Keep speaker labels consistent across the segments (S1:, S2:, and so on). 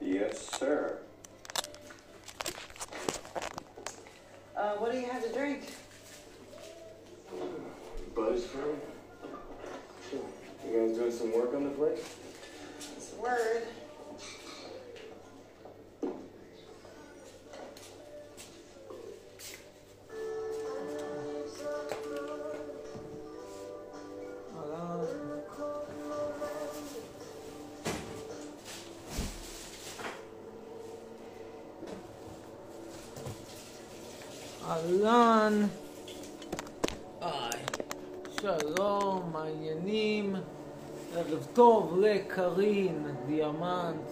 S1: Yes, sir.
S2: Uh, what do you have to drink?
S3: Buzz from? You guys doing some work on the place?
S2: It's a word. Hold on. Hold on. היי, שלום, מעניינים. ערב טוב לקרין דיאמנט.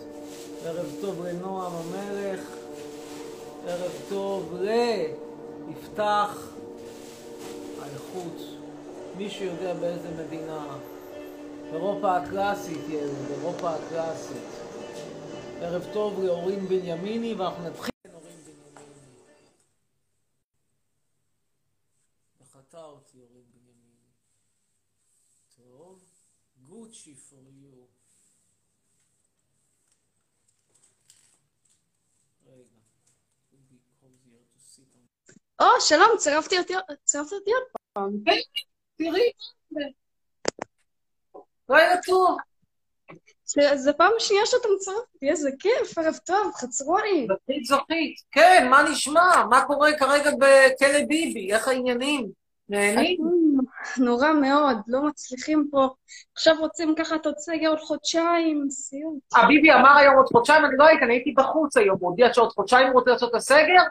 S2: ערב טוב לנועם המלך. ערב טוב ליפתח האיכות. מישהו יודע באיזה מדינה. אירופה הקלאסית, ילד, אירופה הקלאסית. ערב טוב להורים בנימיני, ואנחנו נתחיל עם הורים בנימיני. דחתה אותי הורים בנימיני. טוב, גוצ'י פור יו. רגע, it would be cozier to sit on
S4: או, שלום, צרפתי אותי, צרפת אותי עוד פעם.
S5: כן, תראי, לילה טוב.
S4: זה- זו פעם שנייה שאתה מצרף אותי, איזה כיף, ערב טוב, חצרוני.
S5: זכית זכית. כן, מה נשמע? מה קורה כרגע בכלא ביבי? איך העניינים? נהנים?
S4: נורא מאוד, לא מצליחים פה. עכשיו רוצים ככה עוד סגר עוד חודשיים, סיום.
S5: אה, ביבי אמר היום עוד חודשיים, אני לא הייתי, אני הייתי בחוץ היום. הוא הודיע שעוד חודשיים הוא רוצה לעשות את הסגר?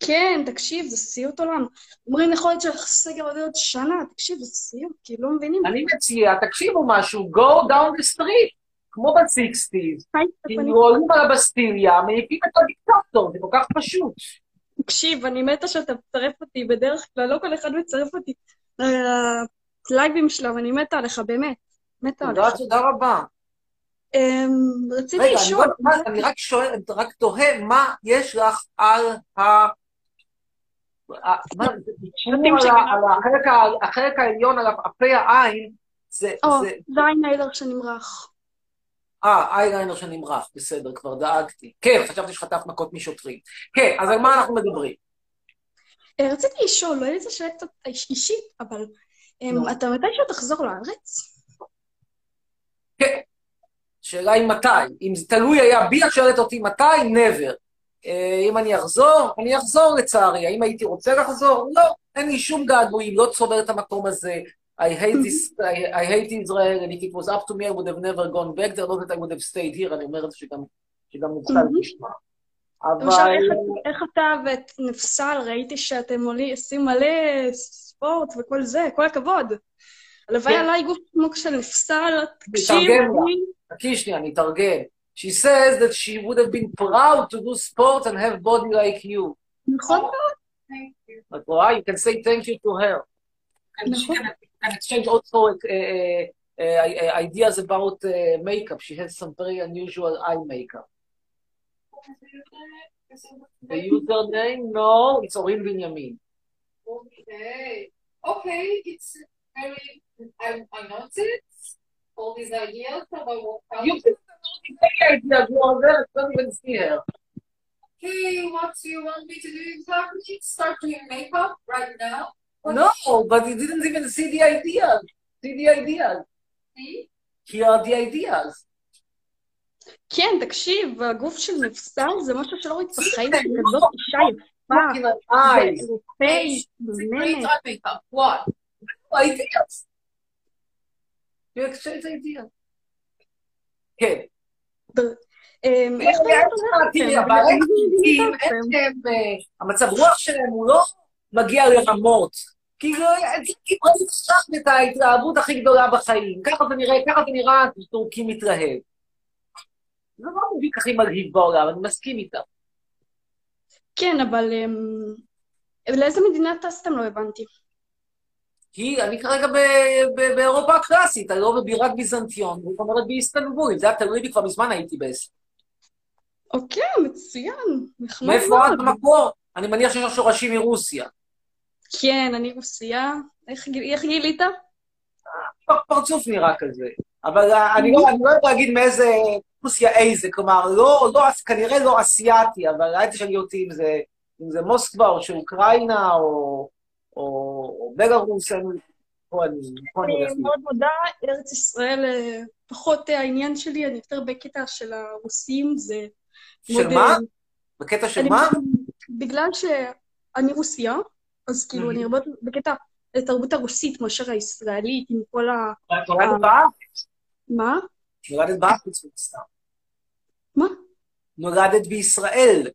S4: כן, תקשיב, זה סיוט עולם. אומרים יכול להיות שהסגר עוד עוד שנה, תקשיב, זה סיוט, כי לא מבינים.
S5: אני מציע, תקשיבו משהו, go down the street, כמו בסיקסטיז.
S4: היי, אני-
S5: כאילו עולים על הבסטיליה, מעיפים את הדיקטטור, זה כל כך פשוט.
S4: תקשיב, אני מתה שאתה מצרף אותי, בדרך כלל לא כל אחד מצרף אותי. לייבים שלו, אני מתה עליך, באמת. מתה עליך.
S5: תודה, תודה רבה.
S4: אמ, רציתי
S5: רגע, אני
S4: לשאול,
S5: לא- מה, אני רק שואל, רק תוהה, מה יש לך על ה... ה- מה, זה- תשמעו על
S4: של
S5: ה- על החלק ה- החלק העליון, על הפה העין, זה...
S4: או,
S5: זה-
S4: זה איינליילר שנמרח.
S5: אה, אייליינר שנמרח, בסדר, כבר דאגתי. כן, חשבתי שחטפת מכות משוטרים. כן, אז על מה אנחנו מדברים?
S4: אה, רציתי לשאול, לא יודעת שאלה קצת איש- אישית, אבל אמ,
S5: נו.
S4: אתה מתישהו תחזור לארץ?
S5: כן. השאלה היא מתי. אם זה תלוי היה בי, את שואלת אותי מתי, never. אה, אם אני אחזור, אני אחזור לצערי. האם הייתי רוצה לחזור? לא, אין לי שום געגועים, לא צובר את המקום הזה. I hate this, I, I hate Israel, and if it was up to me, I would have never gone back there, not that I would have stayed here, אני אומר את זה שגם, שגם נוצר
S4: Mhm.
S5: לשמוע. אבל...
S4: למשל, איך- איך אתה ואת נפסל, ראיתי שאתם עולי- עושים מלא ספורט וכל זה, כל הכבוד. הלוואי
S5: כן.
S4: עליי גוף כמו של נפסל, תקשיב,
S5: מתרגם לה.
S4: אני-
S5: חכי שנייה, אני אתרגם. She says that she would have been proud to do sports and have body like you.
S4: נכון מאוד,
S5: את רואה? You can say thank you to her. And she
S4: נכון.
S5: can, can exchange also uh, uh, uh, ideas about uh, makeup. She has some very unusual eye makeup. The username? No, it's Orin Binyamin.
S6: Okay. Okay, it's very I I noticed all these ideas about what
S5: You can say ideas, you are there, don't even see her.
S6: okay, what do you want me to do exactly? Start doing makeup right now?
S5: No, but you didn't even see the ideas. See the ideas.
S6: See?
S5: Here are the ideas.
S4: כן, תקשיב, הגוף של נפסל זה משהו שלא ראיתי בחיים,
S5: כן,
S4: היא כזאת אישה יפה,
S5: Fucking eyes.
S4: ואירופאית,
S6: It's a great
S4: מנומנת.
S6: eye makeup. What?
S5: ideas. You exchange ideas. כן.
S4: אמ, איך באמת אומרת את
S5: תראי,
S4: זה?
S5: אבל
S4: כן, אני
S5: איך
S4: מבינה
S5: הם-
S4: אתכם.
S5: הם, אה, המצב רוח שלהם הוא לא מגיע לרמות. כאילו, כאילו, אני חשבת את ההתלהבות הכי גדולה בחיים. ככה זה נראה, ככה זה נראה, טורקי מתרהב. זה לא מביק הכי מלהיב בעולם, אני מסכים איתך.
S4: כן, אבל אמ, לאיזה מדינה טסתם? לא הבנתי.
S5: כי אני כרגע ב- ב- באירופה הקלאסית, אני לא בבירת ביזנטיון, זאת אומרת באיסטנבול, אם זה היה תלוי בי כבר מזמן הייתי באיסטנבול.
S4: אוקיי, מצוין, נחמד
S5: מאיפה את
S4: מאוד.
S5: במקור? אני מניח שיש לך שורשים מרוסיה.
S4: כן, אני רוסייה. איך גיל- איך גילית?
S5: פרצוף נראה כזה. אבל אני לא אני לא יודע להגיד מאיזה רוסיה איזה, כלומר, לא, לא, כנראה לא אסיאתי, אבל אל תשאלי אותי אם זה, אם זה מוסקבה או שאוקראינה או, או, או בלארוס, אני, פה אני, פה אני הולך.
S4: אני אה, מאוד מודה, ארץ ישראל אה, פחות אה, העניין שלי, אני יותר בקטע של הרוסים, זה...
S5: של
S4: מאוד,
S5: מה?
S4: אה,
S5: בקטע של
S4: אני-
S5: מה?
S4: בגלל שאני רוסיה, אז כאילו אני הרבה יותר בקטע התרבות הרוסית מאשר הישראלית, עם כל ה...
S5: את נולדת בארץ,
S4: מה?
S5: נולדת בארץ, מן הסתם.
S4: מה?
S5: נולדת בישראל.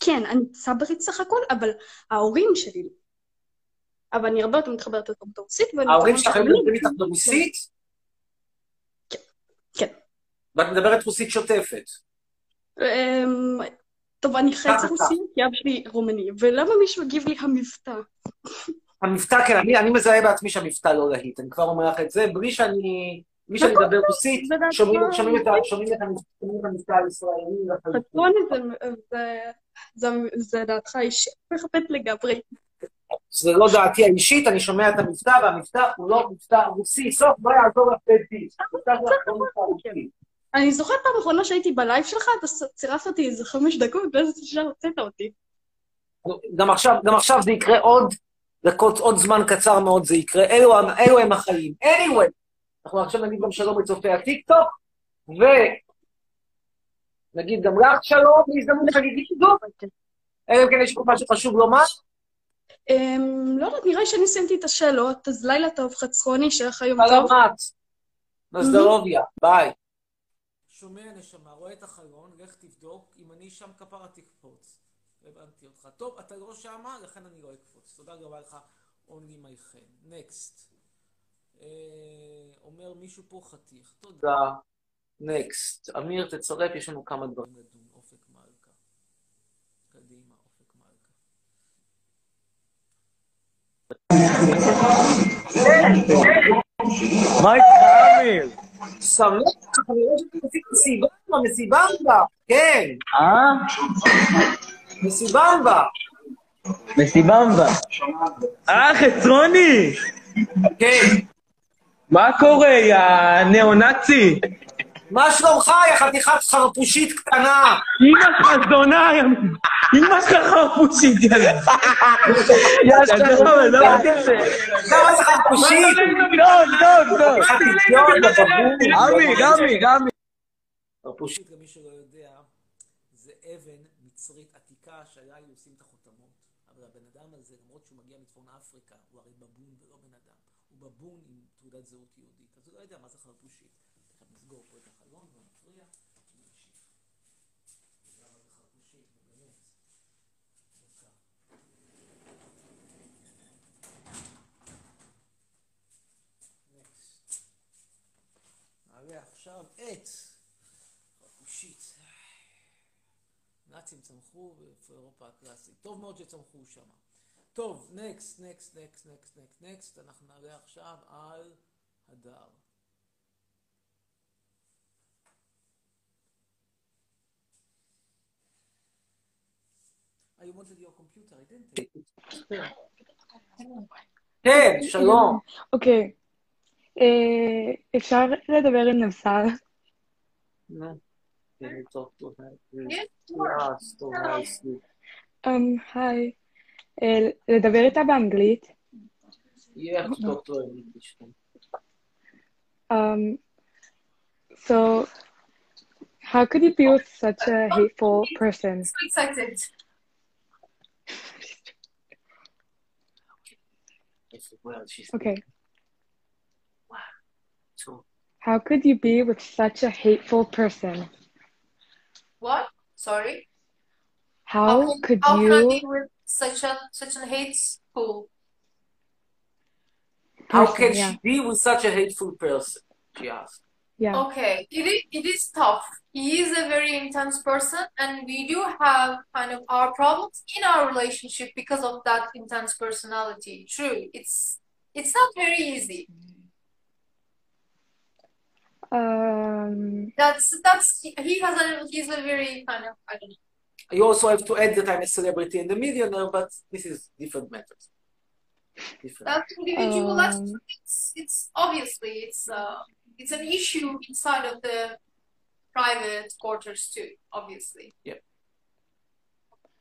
S4: כן, אני צברית סך הכל, אבל ההורים שלי... לא. אבל אני הרבה יותר מתחברת לתרבות הרוסית, ואני...
S5: ההורים
S4: יותר-
S5: שלך היו מדברים איתך ברוסית?
S4: כן.
S5: ואת מדברת רוסית שוטפת.
S4: אמ, טוב, אני חצי
S5: ככה.
S4: רוסי, כי אבא שלי רומני, ולמה מישהו הגיב לי המבטא?
S5: המבטא, כן, אני, אני מזהה בעצמי שהמבטא לא להיט, אני כבר אומר לך את זה, בלי שאני... בלי שאני
S4: נכון,
S5: מדבר רוסית,
S4: זה דעתך.
S5: שומעים שומעים את ה- שומעים את המבטא- שומעים את המבטא הישראלי. לחלוטין.
S4: חתון זה- זה- זה- זה דעתך אישית מחפש לגמרי.
S5: זה לא דעתי האישית, אני שומע את המבטא, והמבטא הוא לא מבטא רוסי. סוף, לא יעזור לך בית דין.
S4: נכון,
S5: המבטא שלך לא מבטא רוסי.
S4: אני זוכרת פעם אחרונה שהייתי בלייב שלך, אתה ס- צירפת אותי איזה חמש דקות, ואז ישר הוצאת אותי.
S5: גם עכשיו, גם עכשיו זה יקרה עוד דקות, עוד זמן קצר מאוד זה יקרה. אלו, הם- אלו הם החיים. anyway, אנחנו עכשיו נגיד גם שלום לצופי הטיקטוק, ונגיד גם לך שלום, בהזדמנות חגיגית זו, אלא אם כן יש פה משהו חשוב לומר.
S4: אמ, לא יודעת, נראה לי שאני סיימתי את השאלות, אז לילה טוב, חצרוני, שיהיה לך יום
S5: שלום
S4: טוב.
S5: את. נזדרוביה, ביי.
S2: שומע נשמה, רואה את החלון, לך תבדוק, אם אני שם כפרה תקפוץ. הבנתי אותך. טוב, אתה לא שמה, לכן אני לא אקפוץ. תודה רבה לך, אונלי מייכן. נקסט. אה, אומר מישהו פה חתיך. תודה.
S5: תודה. נקסט. אמיר, תצרף, יש לנו כמה דברים.
S2: לדון, אופק מלכה. קדימה, אופק מלכה.
S1: מה איתך, אמיר?
S5: שמח, אני רואה שאתם עושים מסיבמבה, מסיבמבה. כן,
S1: אה?
S5: מסיבמבה.
S1: מסיבמבה. אה, חצרוני!
S5: כן.
S1: מה קורה, יא ניאו-נאצי?
S5: מה שלומך, יא חתיכת חרפושית קטנה?
S1: אמא שלך זונה, יא... אמא שלך חרפושית, יא... יא שלום, לא אמרתי את זה.
S5: למה זה חרפושית?
S1: טוב, טוב, טוב.
S5: חתיכת אידיוט, בבבור.
S1: עמי, עמי, עמי.
S5: חרפושית.
S2: פשוט, למי שלא יודע, זה אבן מצרית עתיקה שהיה היו עושים את החותמות. אבל הבן אדם הזה, למרות שהוא מגיע מצפון אפריקה, הוא הרי בבון ולא בן אדם. הוא בבון עם תעודת זהות יהודית. אז הוא לא יודע מה זה חרפושית. תכף נסגור פה את החלון, לא נפריע. ונמשיך. תודה רבה לחרפושית, באמת. יקר. Next. נעלה עכשיו את... שיט. נאצים צמחו ואיפה אירופה הקלאסית. טוב מאוד שצמחו שם. טוב, נקסט, נקסט, נקסט, נקסט, נקסט, נקסט. אנחנו נעלה עכשיו על הדר. I wanted your computer, I didn't take it.
S5: כן, שלום.
S7: אוקיי. אה, אפשר לדבר עם נבסל?
S5: נו. כן, טוב, טוב, טוב.
S6: Yes,
S5: Yes, טוב, nice.
S7: אמ, היי. אה, לדבר איתה באנגלית?
S5: Yes, טוב, טוב, English.
S7: Um, so, how could you be with such a hateful person?
S6: So excited. Oh,
S5: Well, she's
S7: Okay.
S5: so-
S7: How could you be with such a hateful person?
S6: What? Sorry.
S7: How
S6: can-
S7: could
S6: how can I
S7: you
S6: be with such a such an hateful?
S5: How
S7: person?
S5: can
S7: Yeah,
S5: she be with such a hateful person? She asked.
S7: yeah.
S6: Okay, it is, it is tough. He is a very intense person, and we do have kind of our problems in our relationship because of that intense personality. True, it's it's not very easy.
S7: Um,
S6: That's that's he has a he's a very kind of I don't know.
S5: You also have to add that I'm a celebrity and a millionaire, but this is different matters. Different.
S6: That's individual. That's
S7: um,
S6: it's, it's obviously it's uh it's an issue inside of the private quarters too, obviously.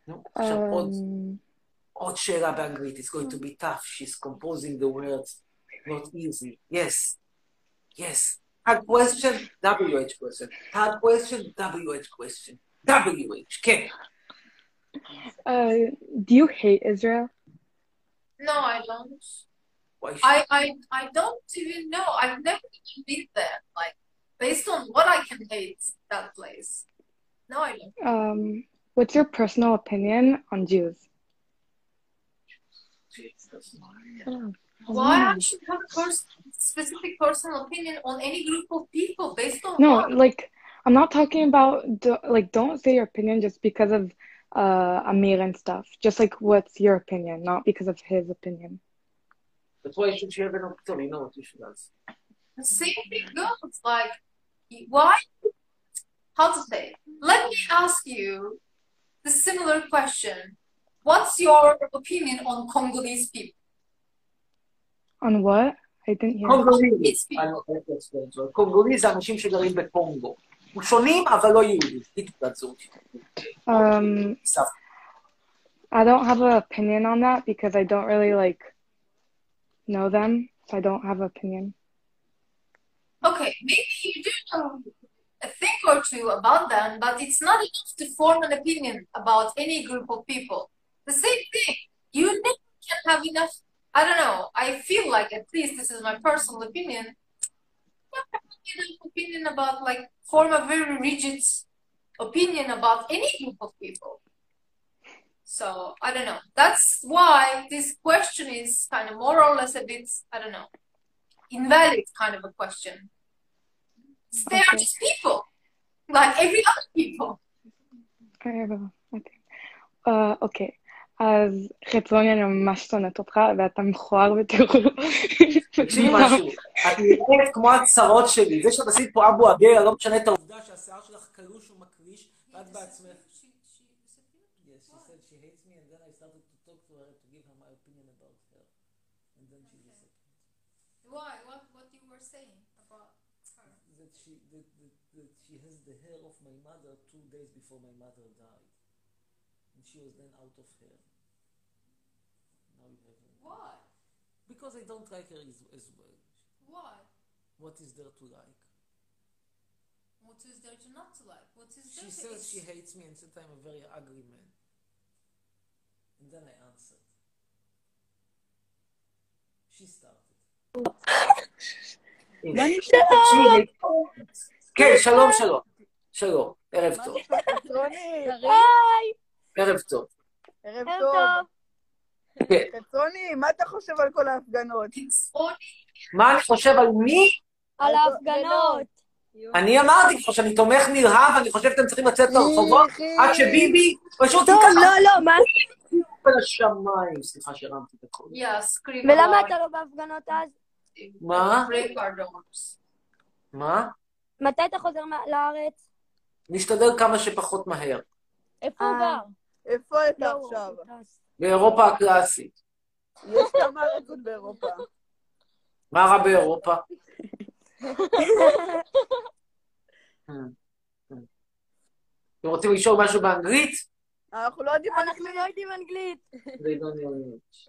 S5: נו, עכשיו עוד-
S7: Um,
S5: עוד שאלה באנגלית, it's going to be tough, she's composing the words, not easy. Yes, yes. Hard question, WH question. Hard question, WH question. WH, כן.
S7: uh, do you hate Israel?
S6: No, I don't.
S5: Why should-
S6: I, I I don't even know. I've never even been there. Like based on what I can hate that place. No, I don't.
S7: Um, what's your personal opinion on Jews? Oh.
S6: Why I should have a pers- specific personal opinion on any group of people based on
S7: No,
S6: what?
S7: like I'm not talking about do, like don't say your opinion just because of uh Amir and stuff. Just like what's your opinion, not because of his opinion.
S5: That's why should she have an opportunity? No, you should ask.
S6: The same thing goes. Like why? How to say? Let me ask you the similar question. What's your opinion on Congolese people?
S7: On what? I didn't hear.
S5: Oh, קונגוליז, אני לא יודע איך להסביר את זה. קונגוליז זה אנשים שגרים בקונגו. הם שונים, אבל לא יהודים. היא תעודת זהות.
S7: Um,
S5: סבתא.
S7: I don't have an opinion on that because I don't really like know them, so I don't have an opinion.
S6: Okay, maybe you do know a thing or two about them, but it's not enough to form an opinion about any group of people. The same thing, you never can have enough. I don't know, I feel like at least this is my personal opinion. You never have enough opinion about, like, form a very rigid opinion about any group of people. So, I don't know. That's why this question is kind of more or less a bit, I don't know, invalid kind of a question. They are
S7: Okay.
S6: just people, like every other people.
S7: אה, אוקיי. אה, אוקיי. אז חצרוני, אני ממש שונאת אותך, ואתה מכוער בטירוף.
S5: תקשיבי משהו, את נראית כמו הצרות שלי. זה שאת עשית פה אבו אגר, לא משנה את העובדה.
S2: העובדה שהשיער שלך קלוש ומקריש, ואת בעצמך... Yes, she said she hates me, and then I started to talk to her to give her my opinion about her. And then she disappeared.
S6: Why? What? What you were saying about her?
S2: that she that, that, that she has the hair of my mother two days before my mother died, and she was then out of hair. Now you have her.
S6: Why?
S2: because I don't like her as, as well.
S6: Why?
S2: What is there to like?
S6: What is there to not to like? What is there?
S2: She
S6: to-
S2: says
S6: it's-
S2: she hates me and said I'm a very ugly man. And then I answered. She started.
S5: תקשיבי. כן, שלום, שלום. שלום, ערב טוב.
S8: חצרוני,
S5: ערב טוב.
S8: ערב
S9: ערב
S8: טוב.
S5: כן.
S8: חצרוני, מה אתה חושב על כל ההפגנות?
S6: It's only
S5: מה אני חושב על מי?
S9: על ההפגנות.
S5: אני אמרתי כבר שאני תומך נרהב, אני חושב שאתם צריכים לצאת לרחובות
S8: יחי.
S5: עד שביבי פשוט
S9: לא,
S5: ייקח
S9: לא, לא, מה?
S5: אל השמיים. סליחה שהרמתי את הכול.
S6: yeah, scream
S9: ולמה
S6: about
S9: אתה לא בהפגנות אז?
S6: it.
S5: מה?
S6: Break our doors.
S5: מה?
S9: מתי אתה חוזר מה- לארץ?
S5: נשתדל כמה שפחות מהר.
S9: איפה הוא
S8: אה,
S9: גר?
S8: איפה אתה
S9: לא, הוא
S8: עכשיו?
S9: טס.
S5: באירופה הקלאסית.
S8: יש כמה ארצות באירופה.
S5: מה רע באירופה?
S9: כן.
S5: כן. אתם רוצים לשאול משהו באנגלית?
S8: אנחנו לא יודעים מה...
S9: אנחנו לא יודעים אנגלית.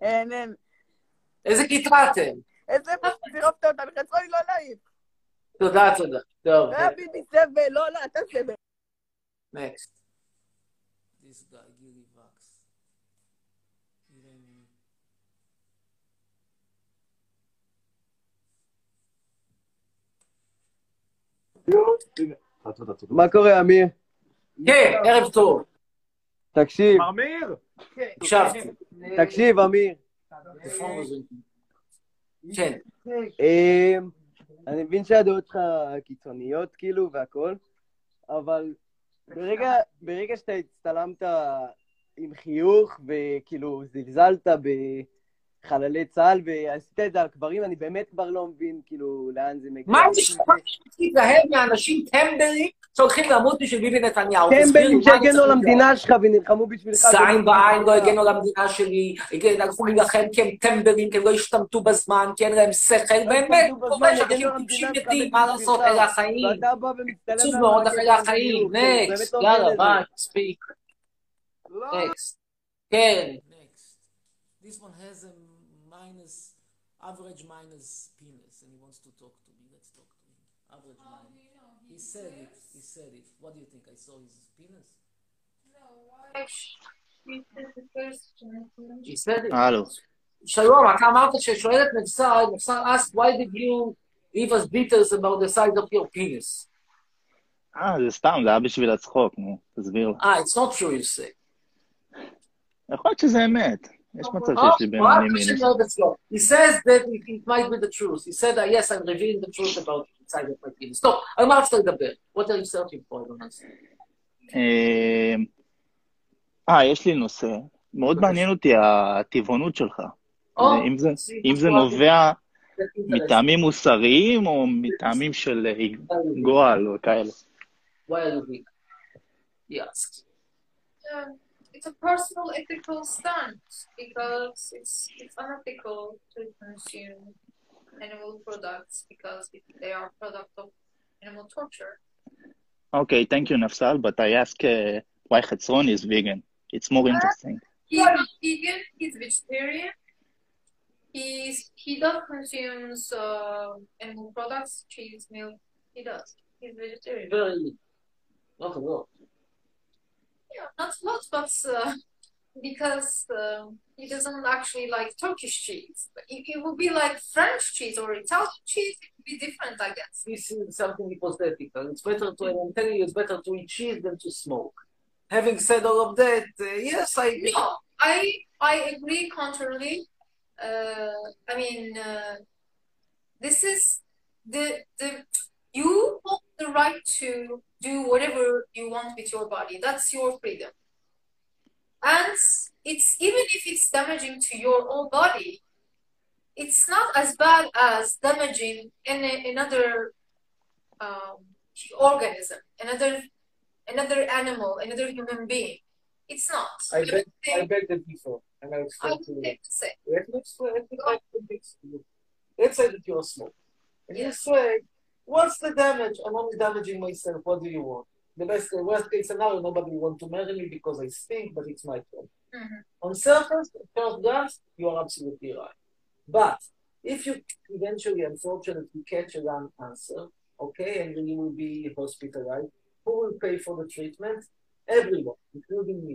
S8: אין, אין.
S5: אה, איזה כיתה אתם?
S8: איזה
S5: אוקיי.
S8: צירפת אותנו, חצרוני לא להעיף.
S5: תודה, תודה. טוב,
S8: לא
S5: כן,
S8: היה ביבי סבל, לא, לא, אתה סבל.
S5: נקסט.
S2: This guy Gilly Vax. Even
S10: מה קורה, אמיר?
S5: כן, ערב טוב.
S10: תקשיב,
S1: מר מאיר?
S5: הקשבתי.
S10: תקשיב, אמיר.
S5: כן,
S10: אמ, אני מבין שהדעות שלך קיצוניות, כאילו, והכל, אבל ברגע, ברגע שאתה הצטלמת עם חיוך, וכאילו זלזלת בחללי צה"ל, ועשית את זה על קברים, אני באמת כבר לא מבין, כאילו, לאן זה מגיע.
S5: מה זה שפה שתיזהר מאנשים טמבלים שהולכים למות בשביל ביבי נתניהו.
S10: כן,
S5: תסביר לי
S10: בנים
S5: מה אני
S10: שהגנו
S5: צריך
S10: על
S5: לדעת.
S10: המדינה שלך ונלחמו בשבילך.
S5: זין בעין לא הגנו על המדינה שלי, הגן- הלכו להילחם כי הם טמברים, כי הם לא השתמטו בזמן, כי אין להם שכל, באמת, קורה שאנשים טיפשים נגדי, מה לעשות, אלה החיים.
S10: ואתה בא ומצטלם...
S5: עצוב
S10: להם
S5: מאוד,
S10: על
S5: אלה
S10: הקטע
S5: החיים,
S10: בדיוק, זה
S5: נקסט,
S10: באמת לא
S5: יאללה,
S10: עובד. לא.
S5: ביי, מספיק. נקסט. כן,
S2: Next. This one has a minus, average minus penis, and he wants to talk to me. Let's talk to him. Average minus. He said it. He said it. What do you think? I saw his penis.
S5: בסדר.
S11: הלו.
S5: שלום, אתה אמרת ששואלת מבשר, מבשר asked, why did you leave us bitters about the size of your penis?
S11: אה, זה סתם, זה היה בשביל הצחוק, נו, תסביר לה.
S5: אה, it's not true, you say.
S11: יכול להיות שזה אמת. יש מצב
S5: Oh,
S11: שיש לי
S5: well,
S11: בינוני
S5: I should
S11: מינוס.
S5: know that's wrong. He says that it, it might be the truth. He said, uh, yes, I'm revealing the truth about the size of my penis. טוב, על מה רצית לדבר? What are you searching for? I don't understand.
S11: אה, אה, יש לי נושא. מאוד מעניין אותי הטבעונות שלך.
S5: או,
S11: אם זה-
S5: see,
S11: אם זה
S5: that's
S11: נובע
S5: That's interesting.
S11: מטעמים מוסריים או מטעמים של אה, גועל או כאלה.
S5: Why are you here? He asked.
S6: Um, it's a personal ethical stance because it's it's unethical to consume animal products because it, they are product of animal torture.
S11: אוקיי, thank you, נפסל, but I ask uh, why חצרון is vegan. It's
S5: אה,
S11: more interesting.
S6: He's not vegan. He's vegetarian. He's he does consumes uh, animal products, cheese, milk. He does. He's vegetarian.
S5: Very, not a lot.
S6: Yeah, not a lot, but uh, because um he doesn't actually like Turkish cheese. But it, it would be like French cheese or Italian cheese. It would be different, I guess.
S5: This is something hypothetical. It's better to, I'm telling you, it's better to eat cheese than to smoke. Having said all of that, uh, yes, I...
S6: No, I I agree contrarily. Uh, I mean, uh, this is the the you hold the right to do whatever you want with your body. That's your freedom. And it's even if it's damaging to your own body, it's not as bad as damaging any, another um, organism, another another animal, another human being. It's not.
S5: I bet, I bet that before, and I
S6: I
S5: explain
S6: would
S5: to you.
S6: say to say.
S5: Let me explain, let me try to convince you. Let's say that you're a smoker. And you say, what's the damage? I'm only damaging myself. What do you want? The best, the worst case scenario, nobody want to marry me because I stink, but it's my problem.
S6: Mhm.
S5: On surface, at first glance, you are absolutely right. But if you eventually, unfortunately, catch a wrong answer, okay, and then you will be hospitalized, who will pay for the treatment? Everyone, including me.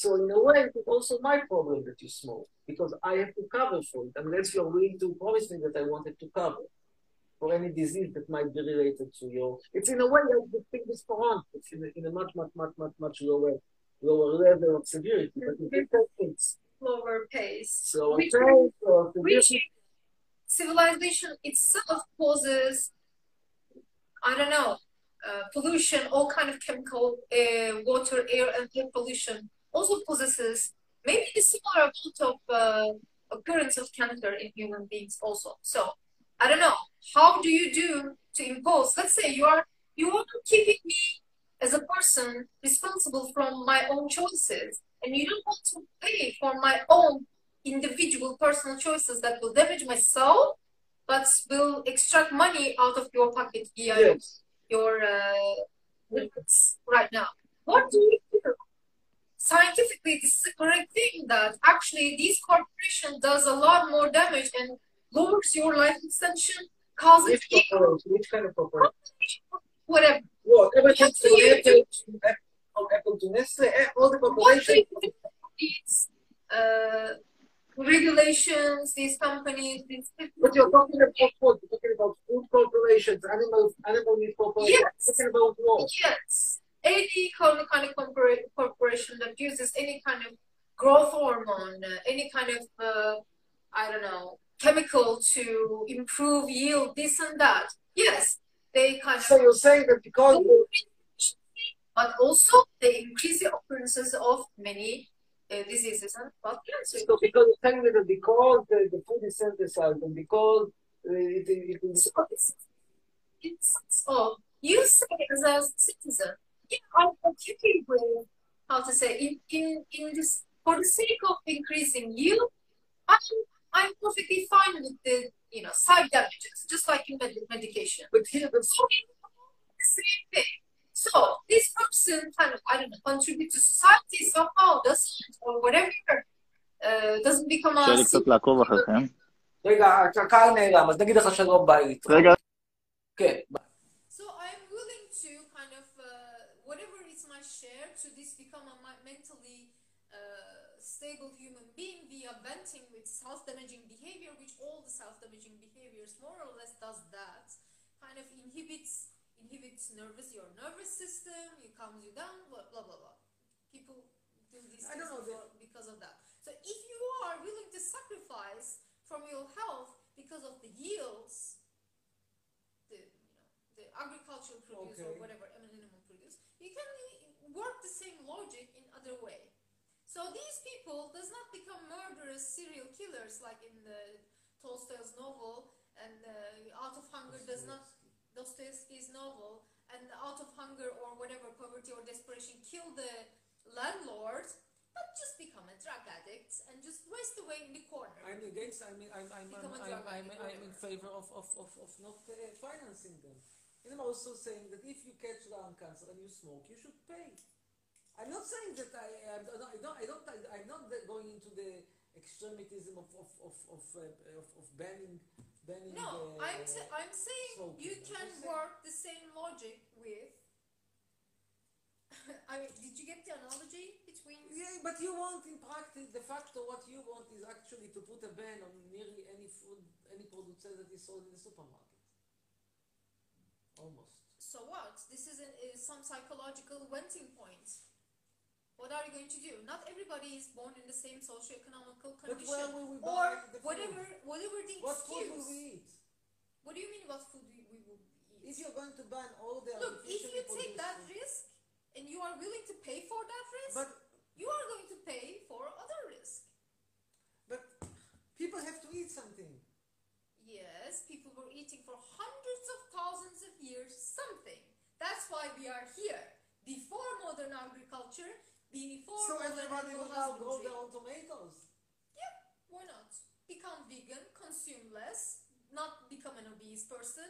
S5: So in a way, it's also my problem that you smoke because I have to cover for it unless you're willing to promise me that I wanted to cover for any disease that might be related to your. It's in a way like the thing with corona. It's in a, in a much, much, much, much, much lower lower level of severity. But it is the things.
S6: slower pace.
S5: So
S6: which,
S5: okay, so
S6: which
S5: severity-
S6: civilization itself causes, I don't know, uh, pollution, all kind of chemical, uh, water, air, and air pollution also possesses maybe a similar amount of uh, occurrence of cancer in human beings also. So I don't know. How do you do to impose? Let's say you are you are keeping me as a person responsible from my own choices, and you don't want to pay for my own individual personal choices that will damage myself, but will extract money out of your pocket via your-
S5: Yes.
S6: your uh, limits right now. What do you do? Scientifically, this is a correct thing that actually these corporation does a lot more damage and lowers your life extension, causes
S5: Which corporation? Which kind of corporation?
S6: whatever.
S5: What? Everything
S6: What do you
S5: to Apple, from Apple to Nestle, eh, all the
S6: What do
S5: corporations.
S6: you do with these uh, regulations, these companies, these
S5: But you're talking about food. You're talking about food corporations, animals, animal meat corporations.
S6: Yes.
S5: You're talking about war.
S6: Yes, any kind of, kind of corpora- corporation that uses any kind of growth hormone, uh, any kind of, uh, I don't know, chemical to improve yield, this and that. Yes, they kind
S5: So
S6: of,
S5: you're saying that because the
S6: but also they increase the occurrences of many uh, diseases and blood cancers.
S5: So because it's telling me that because the, the food is synthesized and because uh, it, it, it is
S6: So it's, it's, so you say as a citizen, yeah, I'm okay with how to say in in in this for the sake of increasing yield, I'm I'm perfectly fine with the you know side damages, just like in med- medication. But here, the same thing. So this person kind of I don't know contribute to society somehow doesn't or whatever uh, doesn't become a
S5: אה,
S11: קשה לי קצת לעקוב אחריכם.
S5: רגע, הקהל נעלם, אז נגיד לך שלום ביי.
S11: רגע.
S5: כן.
S6: So I'm willing to kind of uh, whatever is my share to this become a mi- mentally uh, stable human being via venting with self-damaging behavior, which all the self-damaging behaviors more or less does that. Kind of inhibits inhibits nervous your nervous system, it calms you down, blah blah blah. blah. People do these
S5: I don't
S6: things for- because of that. So if you are willing to sacrifice from your health because of the yields, the the agricultural produce or
S5: Okay.
S6: whatever, I mean animal produce, you can work the same logic in other way. So these people does not become murderous serial killers like in the Tolstoy's novel and uh, Out of Hunger does not Dostoevsky's novel and Out of Hunger or whatever poverty or desperation kill the landlord, but just become a drug addict and just waste away in the corner.
S2: I'm against, I'm, I'm, I'm, I'm,
S6: Become a
S2: I'm,
S6: drug
S2: I'm,
S6: addict,
S2: I'm in favor of, of, of, of not uh, financing them. And I'm also saying that if you catch lung cancer and you smoke, you should pay. I'm not saying that I, I'm, I don't, I don't, I'm not the- going into the extremism of, of, of, of, uh, of, of banning, banning.
S6: No,
S2: uh,
S6: I'm sa- I'm saying
S2: smoking.
S6: you
S2: I'm
S6: can
S2: just saying-
S6: work the same logic with. I mean, did you get the analogy between?
S2: Yeah, but you want in practice, de facto, what you want is actually to put a ban on nearly any food, any product that is sold in the supermarket. Almost.
S6: So what? This is, an, is some psychological venting point. What are you going to do? Not everybody is born in the same socio-economical
S2: But where
S6: condition,
S2: will we
S6: or
S2: buy the food?
S6: whatever, whatever the
S2: What food
S6: excuse.
S2: will we eat?
S6: What do you mean? What food we, we will eat?
S2: If you're going to ban all the
S6: Look, if
S2: artificially
S6: you take
S2: produced
S6: that
S2: food-
S6: risk and you are willing to pay for that risk,
S2: But,
S6: you are going to pay for other risk.
S2: but people have to eat something.
S6: Yes, people were eating for hundreds of thousands of years something. That's why we are here. Before modern agriculture, before
S2: So
S6: modern
S2: everybody will
S6: animal
S2: now grow
S6: husbandry.
S2: their own tomatoes.
S6: Yep, why not? Become vegan, consume less, not become an obese person,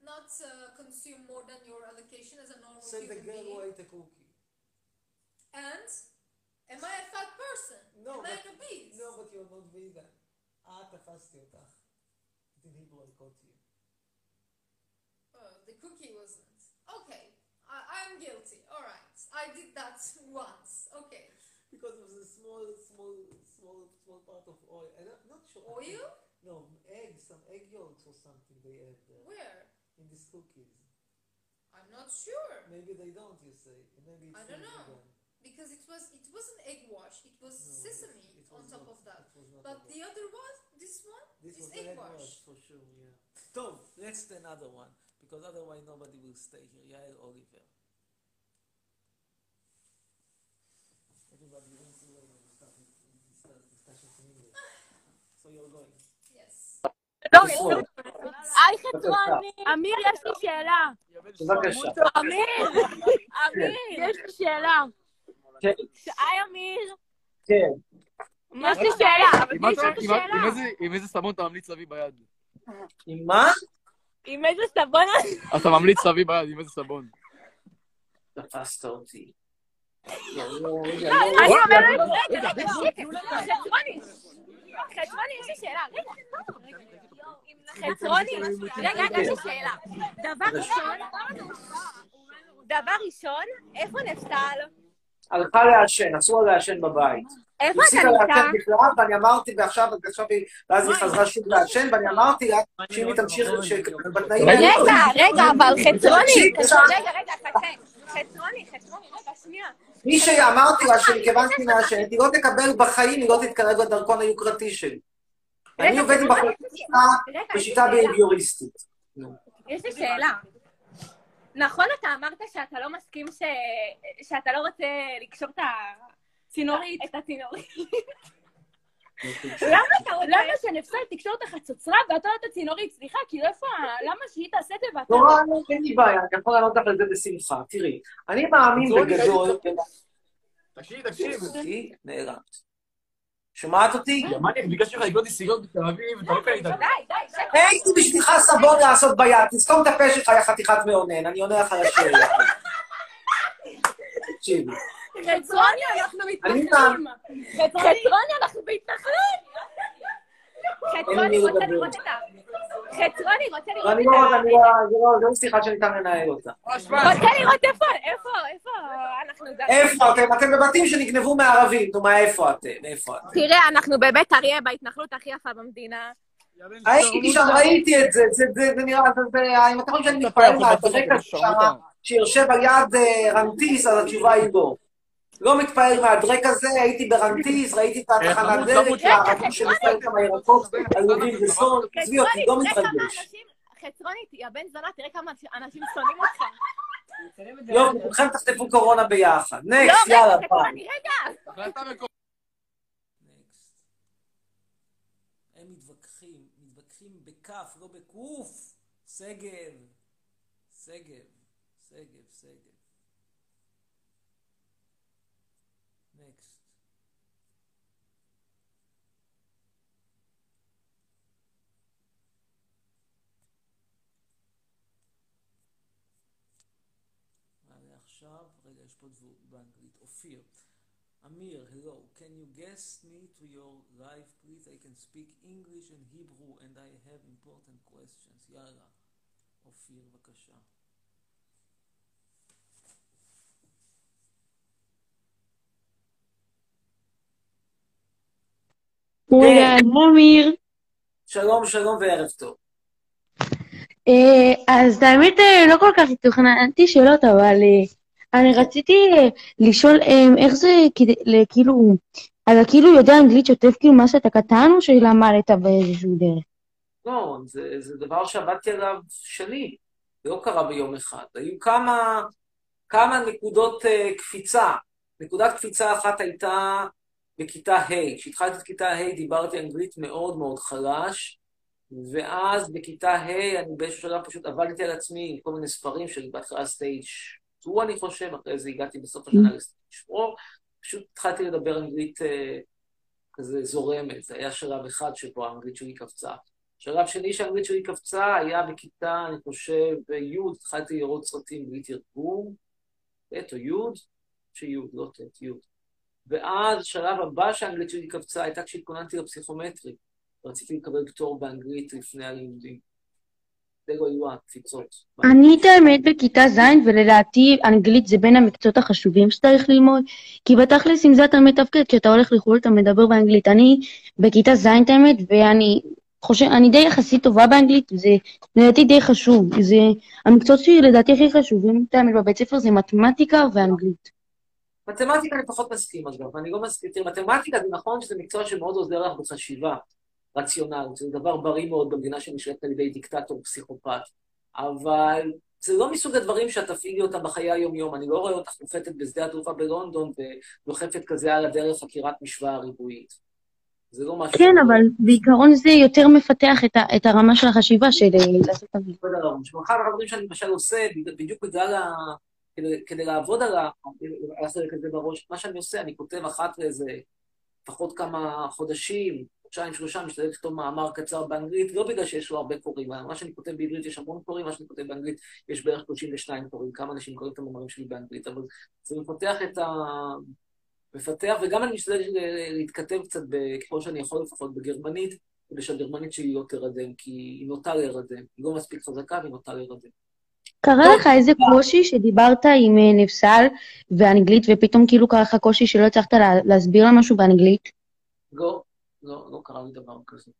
S6: not uh, consume more than your allocation as a normal
S2: Send the
S6: human
S2: girl who
S6: being.
S2: ate a cookie.
S6: And am I a fat person?
S2: No,
S6: am I an
S2: but-
S6: obese?
S2: No, but you're not vegan. Ah, אה, תפסתי אותך. In Hebrew, I caught you.
S6: Oh, the cookie wasn't. Okay, I, I'm guilty. All right, I did that once. Okay,
S2: because of the small, small, small, small part of oil. And I'm not sure. I think-
S6: oil?
S2: No, egg, some egg yolks or something they have there
S6: Where?
S2: in these cookies.
S6: I'm not sure
S2: Maybe they don't, you say. Maybe it's
S6: I don't
S2: not
S6: know.
S2: vegan.
S6: because it was it wasn't egg wash. It was
S2: No, it-
S6: sesame
S2: it
S6: on
S2: was
S6: top
S2: not-
S6: of that.
S2: it was not
S6: But
S2: vegan.
S6: the other one, this one,
S2: This
S6: is
S2: was
S6: egg
S2: egg
S6: wash.
S2: wash for sure, yeah. טוב, let's do another one, because otherwise nobody will stay here. יעל אוליבר. Everybody wants to start start discussion in English. So you're going.
S6: Yes.
S5: לא,
S9: היי חצרוני. אמיר, יש לי שאלה.
S5: בבקשה.
S9: אמיר! אמיר! יש לי שאלה.
S5: כן,
S9: היי אמיר!
S5: כן.
S9: יש לי שאלה, אבל
S12: עם
S9: יש לי
S12: איזה- עם
S9: שאלה.
S12: איזה- עם איזה סבון אתה ממליץ להביא ביד?
S5: עם מה?
S9: עם איזה סבון
S12: אתה ממליץ להביא ביד, עם איזה סבון?
S5: תפסת אותי.
S9: אני אומרת, רגע, רגע, חצרוני, חצרוני, יש לי שאלה, רגע, חצרוני, רגע, רגע, יש לי שאלה. דבר ראשון, דבר ראשון, איפה נפסל?
S5: הלכה לעשן, אסור לה לעשן בבית.
S9: איפה
S5: הפסיקה
S9: אתה נמצא? לא,
S5: לעשן בכלל, ואני אמרתי, ועכשיו, ועכשיו היא, ואז היא חזרה שוב לעשן, ואני אמרתי לה, שאם היא תמשיך ש- בתנאים האלה...
S9: רגע, רגע, אבל חצרוני,
S5: תקשיב, עכשיו,
S9: רגע, רגע, חצרוני, חצרוני, חצרוני, רגע, שנייה.
S5: מי שאמרתי לה שמכיוון שהיא מעשנת, היא לא תקבל בחיים, היא לא תתקרב לדרכון היוקרתי שלי.
S9: רגע,
S5: אני עובד עם
S9: רגע,
S5: בחיים
S9: רגע,
S5: בשיטה
S9: רגע.
S5: ביוריסטית.
S9: יש לי שאלה. נכון אתה אמרת שאתה לא מסכים ש... שאתה לא רוצה לקשור את ה... צינורית. את הצינורית. למה אתה רוצה... למה שנפסל תקשור את החצוצרה ואתה לא תצינורית? סליחה, כאילו איפה... ה- למה שהיא תעשה את זה ואתה... לא-
S5: נורא, אין לי בעיה, אני יכול לענות לך על זה בשמחה. תראי, אני מאמין
S9: זו נראית
S5: בגדול...
S13: תקשיב, תקשיב.
S5: אותי, נעלמת. שומעת אותי?
S13: ימני, ביקשתי לך לקנות לי סיגריות בתל אביב, אתה לא קנית.
S9: די, די, שקט.
S5: הייתי בשבילך סבון לעשות ביד, תסתום את הפה שלך, יא חתיכת מאונן, אני עונה לך על השאלה. תקשיבי,
S9: חצרוני, אנחנו מתנחלים. חצרוני, אנחנו בהתנחלות. חצרוני רוצה
S5: מדבר.
S9: לראות את ה... חצרוני רוצה לראות
S5: אני
S9: את
S5: לא,
S9: ה...
S5: אני לא, זה לא- זה לא שיחה שניתן לנהל אותה.
S9: רוצה לראות איפה, איפה, איפה אנחנו...
S5: איפה אתם? אתם בבתים שנגנבו מערבים, נו מה, איפה אתם? איפה אתם?
S9: תראה, אנחנו בבית אריה, בהתנחלות הכי יפה במדינה.
S5: הייתי שם, ראיתי את זה, זה- זה זה נראה, זה- זה, אם אתם חושבים שאני מתפעל
S9: תפתח,
S5: מהדרקע
S9: תפתח,
S5: שמה, שיושב על יד אה, רנטיס, אז התשובה היא לא. לא מתפעל מהדרק הזה, הייתי ברנטיס, ראיתי את
S9: אה,
S5: התחנת
S9: חמוד,
S5: דלק,
S9: חמוד,
S5: הערבים שמסתכל כמה ירקות,
S9: לא
S5: עלובים וזול,
S9: אוקיי,
S5: עזבי אותי, לא
S9: תראה כמה
S5: מתרגש.
S9: אנשים... חצרונית, יא בן זונה, תראה כמה אנשים שונאים אותך.
S5: יופי, לא, כולכם תחטפו קורונה ביחד.
S9: לא,
S5: נקסט,
S9: רגע,
S5: יאללה, פעם.
S9: חצרוני, רגע.
S2: הם מתווכחים, מתווכחים בכף, לא בקוף. שגב, שגב, שגב, שגב. נקסט. נעלה עכשיו, רגע, יש פה דבור באנגלית. אופיר. אמיר, hello, can you guess me to your life, please? I can speak English and Hebrew and I have important questions. יאללה. אופיר, בבקשה.
S14: אהלן, אמיר.
S5: שלום, שלום וערב טוב.
S14: אה, אז האמת, אה, לא כל כך התוכננתי שאלות, אבל אה, אני רציתי אה, לשאול אה, איך זה, כדי- ל- כאילו, אתה כאילו יודע אנגלית שוטף כאילו מאז שאתה קטן, או שלמדת באיזשהו דרך?
S5: לא, זה, זה דבר שעבדתי עליו שנים, זה לא קרה ביום אחד. היו כמה, כמה נקודות אה, קפיצה. נקודת קפיצה אחת הייתה בכיתה ה', כשהתחלתי את כיתה ה' דיברתי אנגלית מאוד מאוד חלש, ואז בכיתה ה' אני באיזשהו שלב פשוט עבדתי על עצמי עם כל מיני ספרים של בהתחלה סטייג' 2 אני חושב, אחרי זה הגעתי בסוף השנה לסטייג' 4, פשוט התחלתי לדבר אנגלית אה, כזה זורמת, זה היה שלב אחד שבו האנגלית שלי קפצה. שלב שני שהאנגלית שלי קפצה היה בכיתה, אני חושב, י', התחלתי לראות סרטים בלי תרגום, ב' או י', שי', לא ט', י'. ואז שלב הבא שהאנגלית שלי קפצה הייתה כשהתכוננתי לפסיכומטרי. רציתי לקבל פטור באנגלית לפני הלימודים. זה לא היו הקפיצות.
S14: אני את האמת בכיתה ז', ולדעתי אנגלית זה בין המקצועות החשובים שצריך ללמוד, כי בתכלס עם זה אתה מתפקד, כשאתה הולך לחו"ל אתה מדבר באנגלית. אני בכיתה ז', את האמת, ואני חושב, אני די יחסית טובה באנגלית, זה לדעתי די חשוב. זה המקצועות שלדעתי הכי חשובים, את האמת, בבית ספר זה מתמטיקה ואנגלית.
S5: מתמטיקה אני פחות מסכים, אגב, אני לא מסכים. תראי, מתמטיקה זה נכון שזה מקצוע שמאוד עוזר לך בחשיבה רציונלית, זה דבר בריא מאוד במדינה שנשלטת על ידי דיקטטור פסיכופת, אבל זה לא מסוג הדברים שאת תפעילי אותם בחיי היום-יום. אני לא רואה אותך נוחתת בשדה התעופה בלונדון ודוחפת כזה על הדרך חקירת משוואה ריבועית. זה לא משהו...
S14: כן, אבל בעיקרון זה יותר מפתח את ה- את הרמה של החשיבה של אה, לעשות אנגלית.
S5: לעבוד על הראש. ואחד הדברים שאני למשל עושה, בדיוק בגלל ה... כדי, כדי לעבוד על ה- על החלק הזה בראש, מה שאני עושה, אני כותב אחת לאיזה, לפחות כמה חודשים, חודשיים, שלושה, משתדל לכתוב מאמר קצר באנגלית, לא בגלל שיש לו הרבה קוראים, מה שאני כותב בעברית יש המון קוראים, מה שאני כותב באנגלית יש בערך 32 קוראים, כמה אנשים קוראים את המאמרים שלי באנגלית, אבל זה מפתח את ה... מפתח, וגם אני משתדל ל- להתכתב קצת, ב- ככל שאני יכול לפחות, בגרמנית, כדי שהגרמנית שלי לא תירדם, כי היא נוטה להירדם. היא לא מספיק חזקה והיא נוטה להירדם.
S14: קרה לך איזה קושי שדיברת עם אה, נפסל באנגלית, ופתאום כאילו קרה לך קושי שלא הצלחת לה- להסביר לה משהו באנגלית?
S5: לא, לא, לא קרה לי דבר כזה.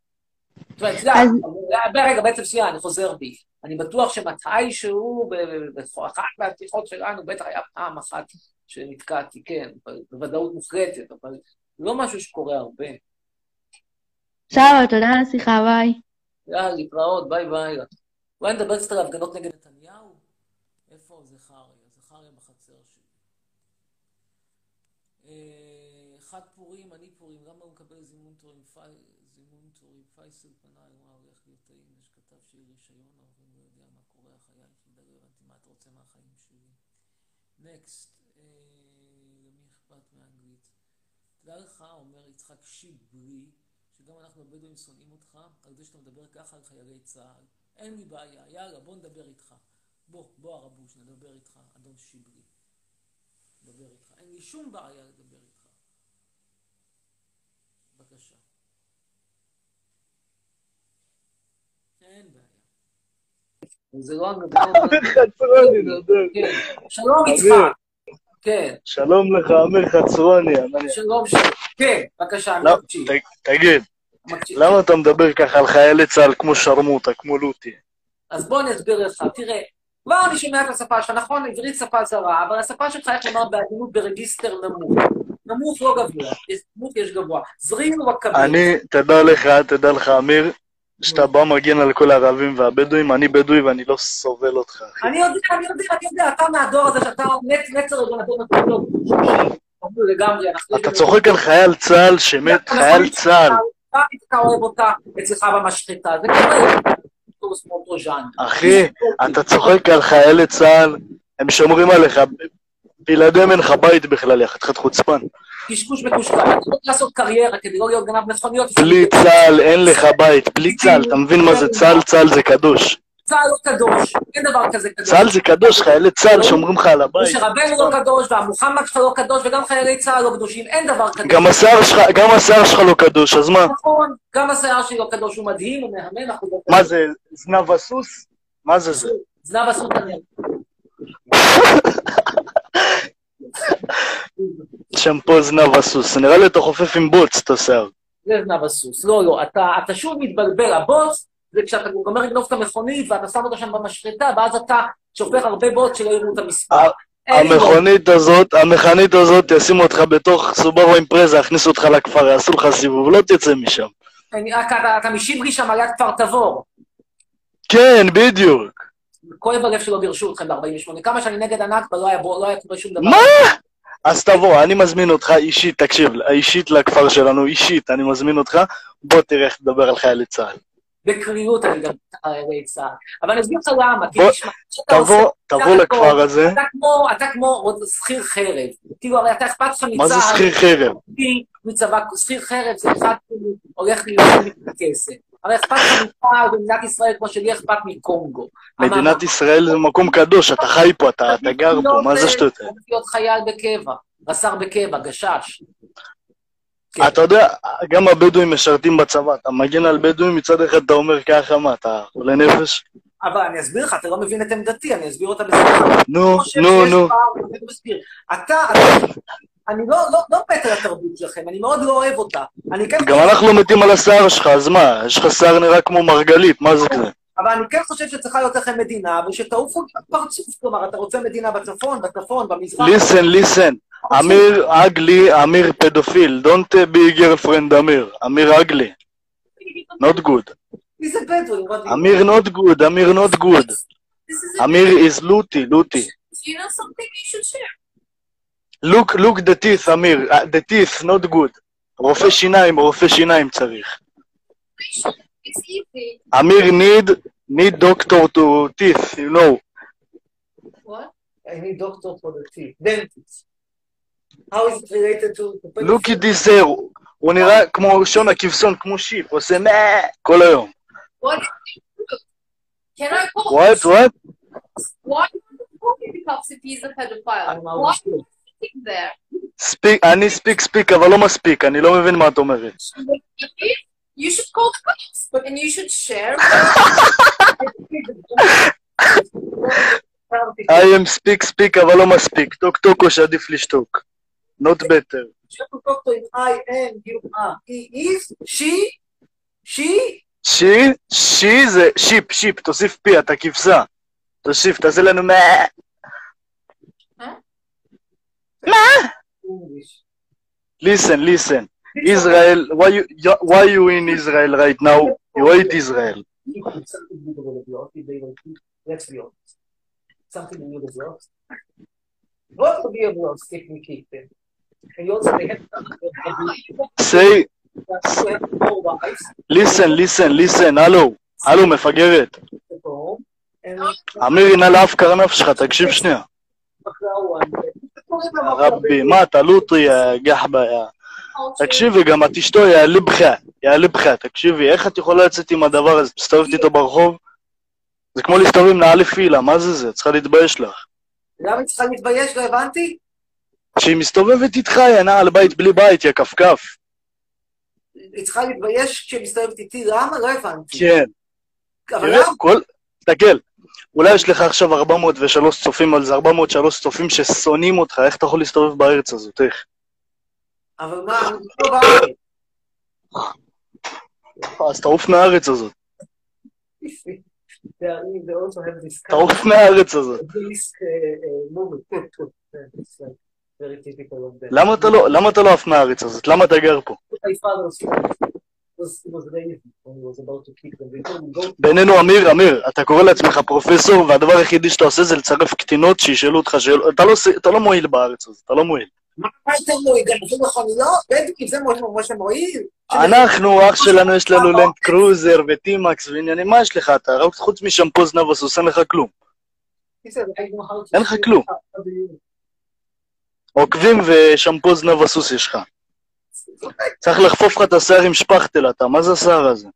S5: זאת אומרת, זה- אבל- רגע, בעצם שנייה, אני חוזר בי. אני בטוח שמתישהו, ב- ב- באחת מהשיחות שלנו, בטח היה פעם אחת שנתקעתי, כן, ב- בוודאות מוחלטת, אבל לא משהו שקורה הרבה.
S14: סבבה, תודה על השיחה, ביי.
S5: יאללה, להתראות, ביי ביי. אולי נדבר קצת על הפגנות נגד...
S2: איפה זכריה? זכריה בחצר שלי. אה, חג פורים, אני פורים, למה הוא מקבל זימון תורים? פי- זימון תורים, פייסל פנה, הוא אמר, הולך להיות טעים, יש כתב שיהיה רישיון, ההורים לא יודע מה קורה, החייל שלי, לא הבנתי מה אתה רוצה מהחיים שלי. נקסט, למי אכפת מאנגלית? תדע לך, אומר יצחק שיברי, שגם אנחנו הבדואים שונאים אותך, על זה שאתה מדבר ככה על חיילי צה"ל. אין לי בעיה, יאללה, בוא נדבר איתך. בוא, בוא הרבוש, נדבר איתך, אדון שיברי. נדבר איתך. אין לי שום בעיה לדבר איתך. בבקשה. אין בעיה.
S5: זה לא אנקדוטה.
S15: חצרוני, נדב. לא
S5: שלום יצחק. כן.
S15: שלום לך, עמיר חצרוני. אני-
S5: שלום שלום. כן, בבקשה,
S15: לא, ת- תגיד, למה אתה מדבר ככה על חיילי צה"ל כמו שרמוטה, כמו לוטי?
S5: אז בוא אני אסביר לך, תראה, לא אני שומע את השפה שלך, נכון, עברית שפה זרה, אבל השפה שלך, איך לומר, בעדינות ברגיסטר נמוך. נמוך לא גבוה, יש- נמוך יש גבוה. זרין הוא הכבד.
S15: אני, תדע לך, תדע לך, עמיר, שאתה בא מגן על כל הערבים והבדואים, אני בדואי ואני לא סובל אותך.
S5: אני יודע, אני יודע, אני יודע, אתה מהדור הזה שאתה נצ- נצר רגולטור נקודות. ברור לגמרי, אנחנו...
S15: אתה צוחק על חייל צה"ל שמת,
S5: נכון.
S15: חייל צה"ל.
S5: אתה אוהב אותה אצלך במשחטה, זה קורה. קורס מאותו ז'אנר.
S15: אחי, אתה צוחק על חיילי צה"ל, הם שומרים עליך, בלעדיהם אין לך בית בכלל, יא חתיכת חוצפן.
S5: קשקוש מקושקש. אתה צריך לעשות קריירה כדי לא להיות גנב מכוניות.
S15: בלי צה"ל אין לך בית, בלי צה"ל, אתה מבין מה זה צה"ל? צה"ל זה קדוש.
S5: צה"ל לא קדוש, אין דבר כזה קדוש.
S15: צה"ל זה קדוש, חיילי צה"ל שומרים לך על הבית.
S5: משה רבנו לא קדוש, והמוחמד שלך לא קדוש, וגם חיילי צה"ל לא קדושים, אין דבר קדוש.
S15: גם השיער שלך, גם השיער שלך לא קדוש, אז מה?
S5: נכון, גם השיער שלי לא קדוש, הוא מדהים, הוא מהמם, אנחנו לא
S15: מה זה, זנב הסוס? מה זה זה?
S5: זנב אסור תנר.
S15: שמפו זנב הסוס. נראה לי אתה חופף עם בוץ את השיער.
S5: זה זנב הסוס. לא, לא, אתה, אתה שוב מתבלבל. הבוץ זה כשאתה גומר לגנוב את המכונית ואתה שם אותה שם במשחטה, ואז אתה שופך הרבה בוץ שלא יראו את המספר. אין לי בוץ.
S15: המכונית הזאת, המכנית הזאת, ישימו אותך בתוך סוברו אימפרזה, יכניסו אותך לכפר, יעשו לך סיבוב, לא תצא משם.
S5: אני- אתה- אתה- אתה משיברי שם על יד כפר תבור.
S15: כן, בדיוק.
S5: כואב הלב שלא גירשו אתכם ב-48. כמה שאני נגד הנכבה, לא היה בו- לא היה קורה שום דבר.
S15: מה? אז תבוא, אני מזמין אותך אישית, תקשיב, אישית לכפר שלנו, אישית, אני מזמין אותך, בוא תראה איך תדבר על חיילי צה"ל.
S5: בקריאות אני גם חיילי צה"ל. אבל אני אסביר לך למה, כי
S15: בוא,
S5: תשמע, כשאתה
S15: תבוא-
S5: עושה-
S15: תבוא
S5: אתה
S15: לכפר
S5: כמו-
S15: הזה.
S5: אתה כמו, אתה כמו עוד שכיר חרב. כאילו, הרי אתה אכפת לך מצה"ל.
S15: מה זה שכיר חרב?
S5: כי מצבא, שכיר חרב זה אחד כאילו הולך להיות כסף. הרי אכפת לך מצה"ל במדינת ישראל כמו שלי אכפת מקונגו.
S15: מדינת ישראל זה מקום קדוש, אתה חי פה, אתה אתה גר פה, מה לא, זה שטויות? האלה?
S5: הולך "לא, להיות חייל בקבע, רס"ר בקבע, גשש.
S15: אתה יודע, גם הבדואים משרתים בצבא, אתה מגן על בדואים, מצד אחד אתה אומר ככה, מה, אתה חולה נפש?
S5: אבל אני אסביר לך, אתה לא מבין את עמדתי, אני אסביר אותה בסדר.
S15: נו,
S5: אני חושב
S15: נו,
S5: שיש
S15: נו.
S5: פער, אני מסביר. אתה, אתה- אני לא, לא, לא מת על התרבות שלכם, אני מאוד לא אוהב אותה. אני כן...
S15: גם אנחנו לא- מתים על השיער שלך, אז מה, יש לך שיער נראה כמו מרגלית, מה זה כזה?
S5: אבל אני כן חושב שצריכה להיות לכם מדינה, ושתעופו גם פרצוף, כלומר, אתה רוצה מדינה בצפון, בצפון, במזרח.
S15: ליסן, ליסן. אמיר אגלי, אמיר פדופיל. Don't be girlfriend אמיר. אמיר אגלי. Not good.
S5: מי זה בדואי? what do you-
S15: אמיר not good, אמיר not good. אמיר is לוטי, לוטי.
S6: Do you know something you should share?
S15: Look, look the teeth, אמיר. Uh, The teeth, not good. רופא שיניים, רופא שיניים צריך.
S6: It's easy.
S15: אמיר need, need doctor to teeth, you know.
S5: What? I need doctor for the teeth. Dentist. How is it related to...
S15: Look at this hair. הוא נראה כמו שון הכבשון, כמו שיפ, עושה מה... כל היום.
S6: What is the proof? Can I call
S15: What,
S6: him?
S15: what?
S6: Why do you call him cops if he's a pedophile?
S5: out of
S6: Why are you sitting there?
S15: ספיק, אני ספיק ספיק, אבל לא מספיק, אני לא מבין מה את אומרת.
S6: You should call the cops and you should share.
S15: I am speak speak אבל לא מספיק, טוק טוק או שעדיף לשתוק. Not better.
S5: Shepherd Doctor is I am you are. He E. is, she, she,
S15: שי, שי זה שיפ, שיפ, תוסיף פי, אתה כבשה. תוסיף, תעשה לנו מה... מה? Listen, listen. Israel, why you, why you in Israel right now? You hate Israel.
S5: something new to develop, if they don't keep- let's be honest. Something new to develop. What to be a blog technically?
S15: say, listen, listen, listen, הלו, הלו, מפגרת. אמיר הנה לאף קרנף שלך, תקשיב שנייה. רבי, מה, אתה לוטרי, יא גחבה, יא... תקשיבי, גם את אשתו, יא ליבחה, יא ליבחה, תקשיבי, איך את יכולה לצאת עם הדבר הזה? את מסתובבת איתו ברחוב? זה כמו להסתובב עם נעלי פילה, מה זה זה? צריכה להתבייש לך.
S5: למה היא צריכה להתבייש? לא הבנתי.
S15: כשהיא מסתובבת איתך, יא נעל בית בלי בית, יא כפכף.
S5: היא צריכה להתבייש כשהיא מסתובבת איתי, למה? לא הבנתי.
S15: כן.
S5: אבל
S15: תראה,
S5: למה?
S15: כל... תסתכל, אולי יש לך עכשיו 403 צופים על זה, 403 צופים ששונאים אותך, איך אתה יכול להסתובב בארץ הזאת, איך?
S5: אבל מה, אני לא בארץ.
S15: אז תעוף מהארץ הזאת,
S5: ואני מאוד אוהב דיסק.
S15: תעוף מהארץ הזאת.
S5: דיסק מומי. כן. Very typical of them.
S15: למה אתה לא, למה אתה לא עף מהארץ הזאת? למה אתה גר פה?
S5: My father was, was, was raised when he was about to kick them. They told him, go
S15: בינינו, אמיר, אמיר, אתה קורא לעצמך פרופסור, והדבר היחידי שאתה עושה זה לצרף קטינות שישאלו אותך שאלות. אתה לא עושה- אתה לא מועיל בארץ הזאת, אתה לא מועיל.
S5: מה אתם מועיל? גם הכי נכון, לא? בדיוק, זה מה שמועיל.
S15: אנחנו, אח שלנו, יש לנו לנד קרוזר וטימקס ועניינים, מה יש לך אתה? רק חוץ משמפו זנב הסוס, אין לך כלום. אין לך כלום. עוקבים ושמפו זנב הסוס יש לך. צריך לחפוף לך את השיער עם שפכטל אתה, מה זה השיער הזה?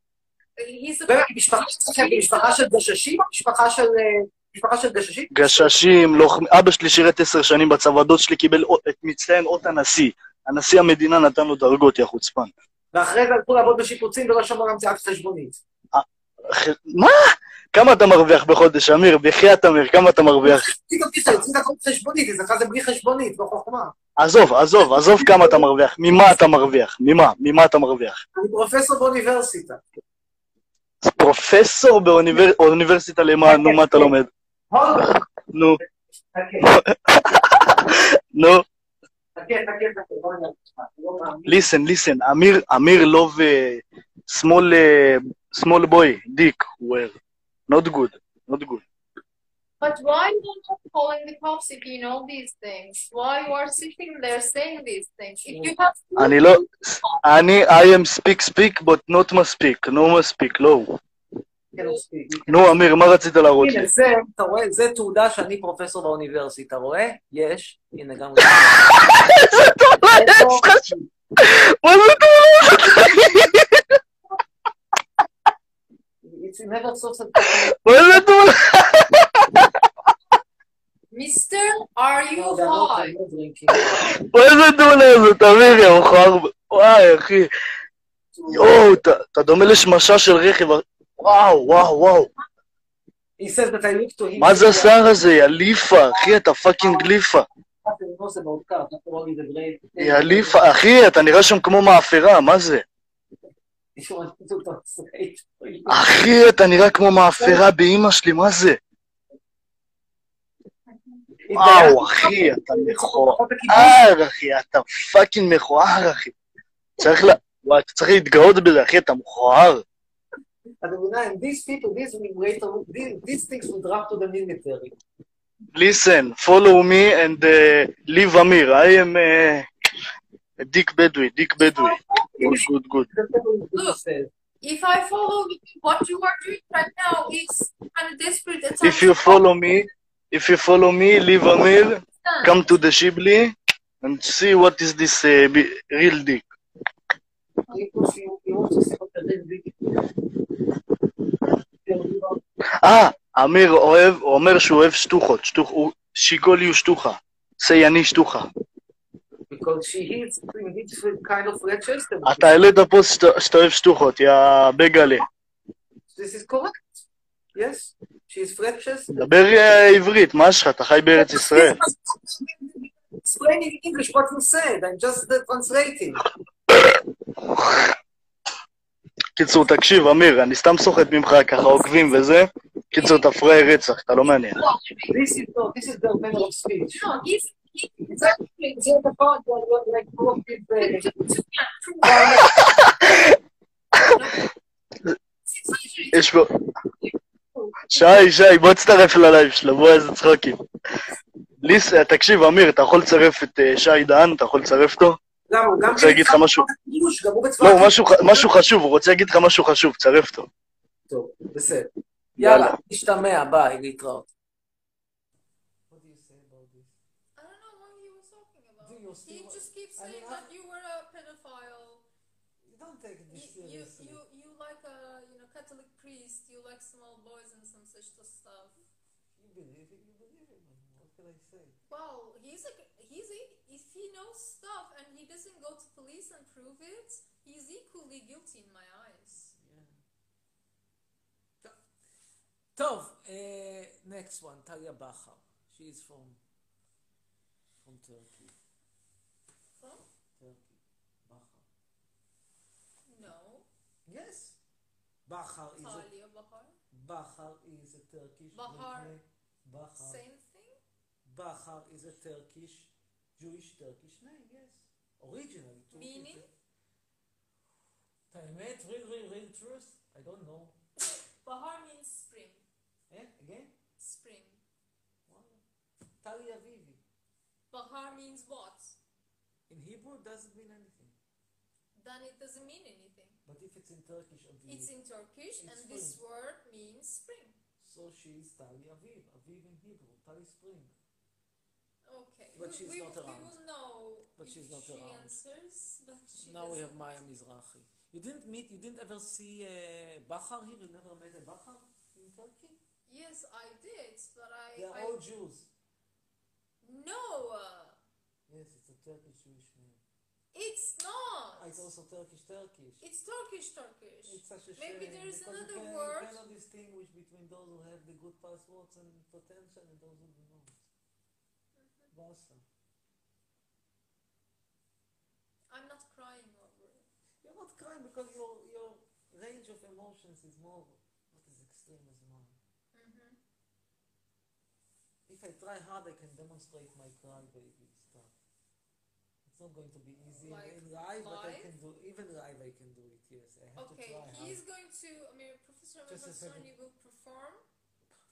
S5: משפחה שלכם, משפחה של גששים או משפחה של... אה, משפחה של גששים?
S15: גששים, לוחמים. אבא שלי שירת עשר שנים בצבא, דוד שלי קיבל אות- את מצטיין אות הנשיא. הנשיא המדינה נתן לו דרגות, יא חוצפן.
S5: ואחרי זה הלכו לעבוד בשיפוצים ולא שמעו על המציאת חשבונית.
S15: אחי, מה? כמה אתה מרוויח בחודש, אמיר? בחייאת אמיר, כמה אתה מרוויח?
S5: תגיד אותי, תגיד הכל חשבונית, אז אחרי זה בלי חשבונית, לא חוכמה.
S15: עזוב, עזוב, עזוב כמה אתה מרוויח. ממה אתה מרוויח? ממה? ממה אתה מרוויח?
S5: אני פרופסור באוניברסיטה.
S15: פרופסור באוניבר- באוניברסיטה למה? נו, מה אתה לומד?
S5: הון,
S15: נו,
S5: חכה,
S15: נו.
S5: חכה, חכה, חכה, בוא נראה אותך, לא מאמין.
S15: ליסן, ליסן, אמיר, אמיר לא ו... שמאל, אה, שמאל בוי, דיק, וויר. Not good, not good.
S6: But why not calling the cops if you know these things? Why you are sitting there saying these things? If you have
S15: אני לא... אני, I am speak speak, but not מספיק. נו מספיק, לא.
S5: כן, מספיק.
S15: נו, אמיר, מה רצית להראות לי?
S5: הנה, זה, אתה רואה, זה תעודה שאני פרופסור באוניברסיטה, רואה? יש. הנה, גם... לא
S1: איזה תורה יש לך שם? מה זה תורה?
S5: It's never so
S15: מה זה תורה?
S6: Mister, are you high?
S15: מה זה דולה הזאת, אמיר, יא מכוער? וואי, אחי. יואו, אתה- אתה דומה לשמשה של רכב. וואו, וואו, וואו.
S5: He says that I look to him...
S15: מה זה השיער הזה, יא ליפה? אחי, אתה פאקינג ליפה.
S5: After he knows about cars, after all, he's a brave-
S15: יא ליפה, אחי, אתה נראה שם כמו מאפרה, מה זה?
S5: He wants to translate.
S15: אחי, אתה נראה כמו מאפרה באימא שלי, מה זה? וואו, אחי, אתה מכוער, אחי, אתה פאקינג מכוער, אחי. צריך ל... וואי, אתה צריך להתגאות בזה, אחי, אתה מכוער.
S5: אתה מבין, and these people, these immigrators, these- these things will drop to the military.
S15: Listen, follow me and uh, leave Amir. I am uh, a Dick Bedouin, Dick Bedouin. Good, good, good.
S6: Look, if I follow you, what you are doing right now is kind of desperate attempt.
S15: If you follow me, if you follow me, leave Amir, come to the Shibli and see what is this uh, bi- real dick. אה, אמיר אוהב, הוא אומר שהוא אוהב שטוחות, שטוח, הוא שיגולי הוא שטוחה. סייני שטוחה.
S5: Because she is in different kind of Rochester.
S15: אתה העלית פוסט שאתה- שאתה אוהב שטוחות, יא בגלה.
S5: This is correct. Yes, she is Rochester.
S15: דבר אה, עברית, מה יש לך? אתה חי בארץ ישראל.
S5: Explaining in English what you said, I'm just uh, translating.
S15: קיצור, תקשיב, אמיר, אני סתם סוחט ממך ככה עוקבים וזה. קיצור, אתה פראייר רצח, אתה לא מעניין.
S5: This is no, this is the manner of speech.
S6: No, it's
S5: exactly it's the part that was like full of people.
S15: יש פה... שי, שי, בוא תצטרף ללייב שלו, בוא איזה צחוקים. בלי ס- אה, תקשיב, אמיר, אתה יכול לצרף את אה, שי דהן, אתה יכול לצרף אותו?
S5: למה? הוא גם
S15: רוצה להגיד לך משהו?
S5: קידוש, גם הוא בצבא...
S15: לא, הוא משהו ח- משהו חשוב, הוא רוצה להגיד לך משהו חשוב, צרף אותו.
S5: טוב, בסדר. יאללה, נשתמע, ביי, להתראות.
S6: He just keeps saying that you were a pedophile.
S2: You don't take
S6: You,
S2: this
S6: you,
S2: seriously.
S6: you, you like a you know Catholic priest. You like small boys and some such stuff.
S2: You believe it, you believe it, man. What can I
S5: אה,
S2: say?
S6: Well, he's a he's a, if he knows stuff and he doesn't go to police and prove it, he's equally guilty in my eyes.
S2: טוב, אה, next one, טליה בכר. She is from, from Turkey.
S6: From?
S2: Turkey. בכר.
S6: No.
S2: Yes. בכר is a,
S6: Talia Bahar.
S2: בכר is a Turkish.
S6: Bahar.
S2: name. בכר.
S6: Same thing.
S2: Bahar is a Turkish, Jewish Turkish name, yes. Originally. Turkish.
S6: Meaning?
S2: את האמת, real, real, real truth, I don't know.
S6: Bahar means spring.
S2: Eh, again?
S6: Spring.
S2: Talia Vivi.
S6: Bahar means what?
S2: In Hebrew, it doesn't mean anything.
S6: Then it doesn't mean anything.
S2: But if it's in Turkish, obviously.
S6: It's in Turkish, and
S2: Mm. It's
S6: this
S2: spring.
S6: word means spring.
S2: So she is Tali Aviv, Aviv in Hebrew, Tali Spring.
S6: Okay.
S2: But
S6: we,
S2: she's
S6: we,
S2: not
S6: we
S2: around.
S6: will know
S2: But
S6: if
S2: she's not
S6: she
S2: around.
S6: answers. But she
S2: now we have
S6: doesn't.
S2: Maya Mizrahi. You didn't meet, you didn't ever see uh, Bachar here? You never met a Bachar in Turkey?
S6: Yes, I did, but I.
S2: They are
S6: I
S2: all Jews.
S6: no, uh,
S2: Yes, it's a Turkish Jewish name.
S6: it's not.
S2: Ah, it's also Turkish Turkish.
S6: It's Turkish, Turkish.
S2: It's such a
S6: Maybe
S2: shame
S6: there is
S2: because you
S6: another
S2: can- you
S6: word.
S2: cannot distinguish between those who have the good passwords and potential and those who do not. Basta.
S6: I'm not crying over it.
S2: You're not crying because your your range of emotions is more not as extreme as mine.
S6: hmm
S2: If I try hard, I can demonstrate my crybaby stuff. It's not going to be easy
S6: Like
S2: in live, but I
S6: live?
S2: can do even live. I can do it. Yes, I have
S6: Okay,
S2: to try hard.
S6: he is going to. I mean, Professor
S2: Just a second.
S6: Mavasoni will perform,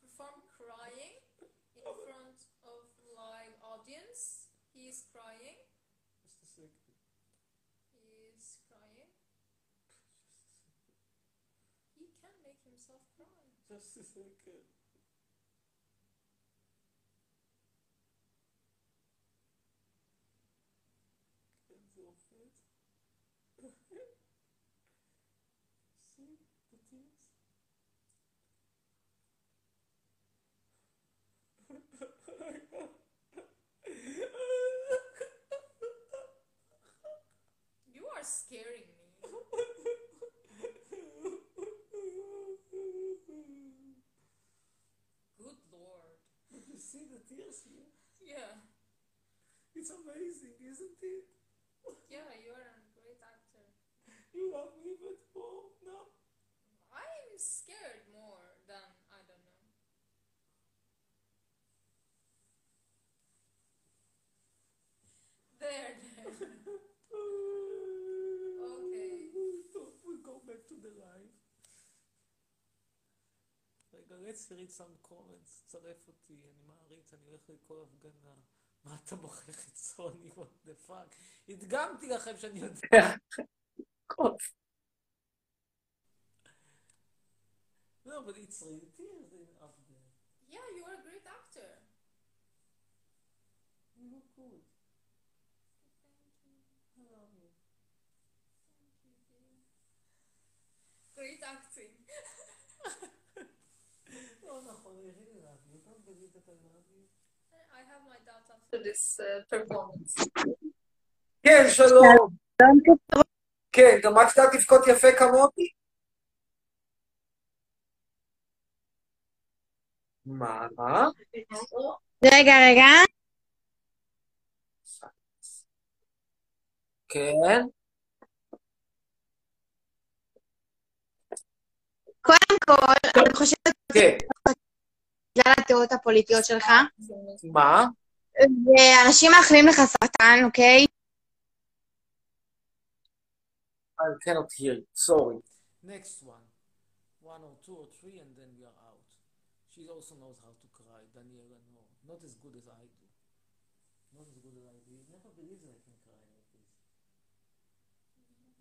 S6: perform crying in front of live audience. He is crying.
S2: Just a second.
S6: He is crying. He can make himself cry.
S2: Just a second. Can you open it? See the tears?
S6: You are scaring me. Good lord.
S2: You see the tears here?
S6: Yeah,
S2: It's amazing, isn't it?
S6: yeah, you are a great actor.
S2: You love me but more now.
S6: I am scared more than I don't know. There, there. okay.
S2: So we go back to the live. רגע, let's read some comments, צרף אותי, אני מעריץ, אני הולך לכל הפגנה. מה אתה בוחר חיצוני, what the fuck? הדגמתי לכם שאני יודע. לא, אבל it's real tears in up there.
S6: Yeah, you are a great actor.
S2: You look good. I love you.
S6: Great acting.
S2: לא נכון, I really love you. Don't believe that I love you.
S6: I have my doubt after this uh, performance.
S5: כן, שלום. כן, גם את יודעת לבכות יפה כמוני? מה?
S16: רגע, רגע.
S5: כן.
S16: קודם
S6: Ah,
S16: כל, אני חושבת...
S5: כן.
S16: בגלל הדעות הפוליטיות שלך.
S5: מה?
S16: ואנשים מאחלים לך סרטן, אוקיי?
S5: I cannot hear you, sorry.
S2: Next one. One or two or three, and then we are out. She also knows how to cry, Daniela Noor. Not as good as I do. believe that I can cry like this.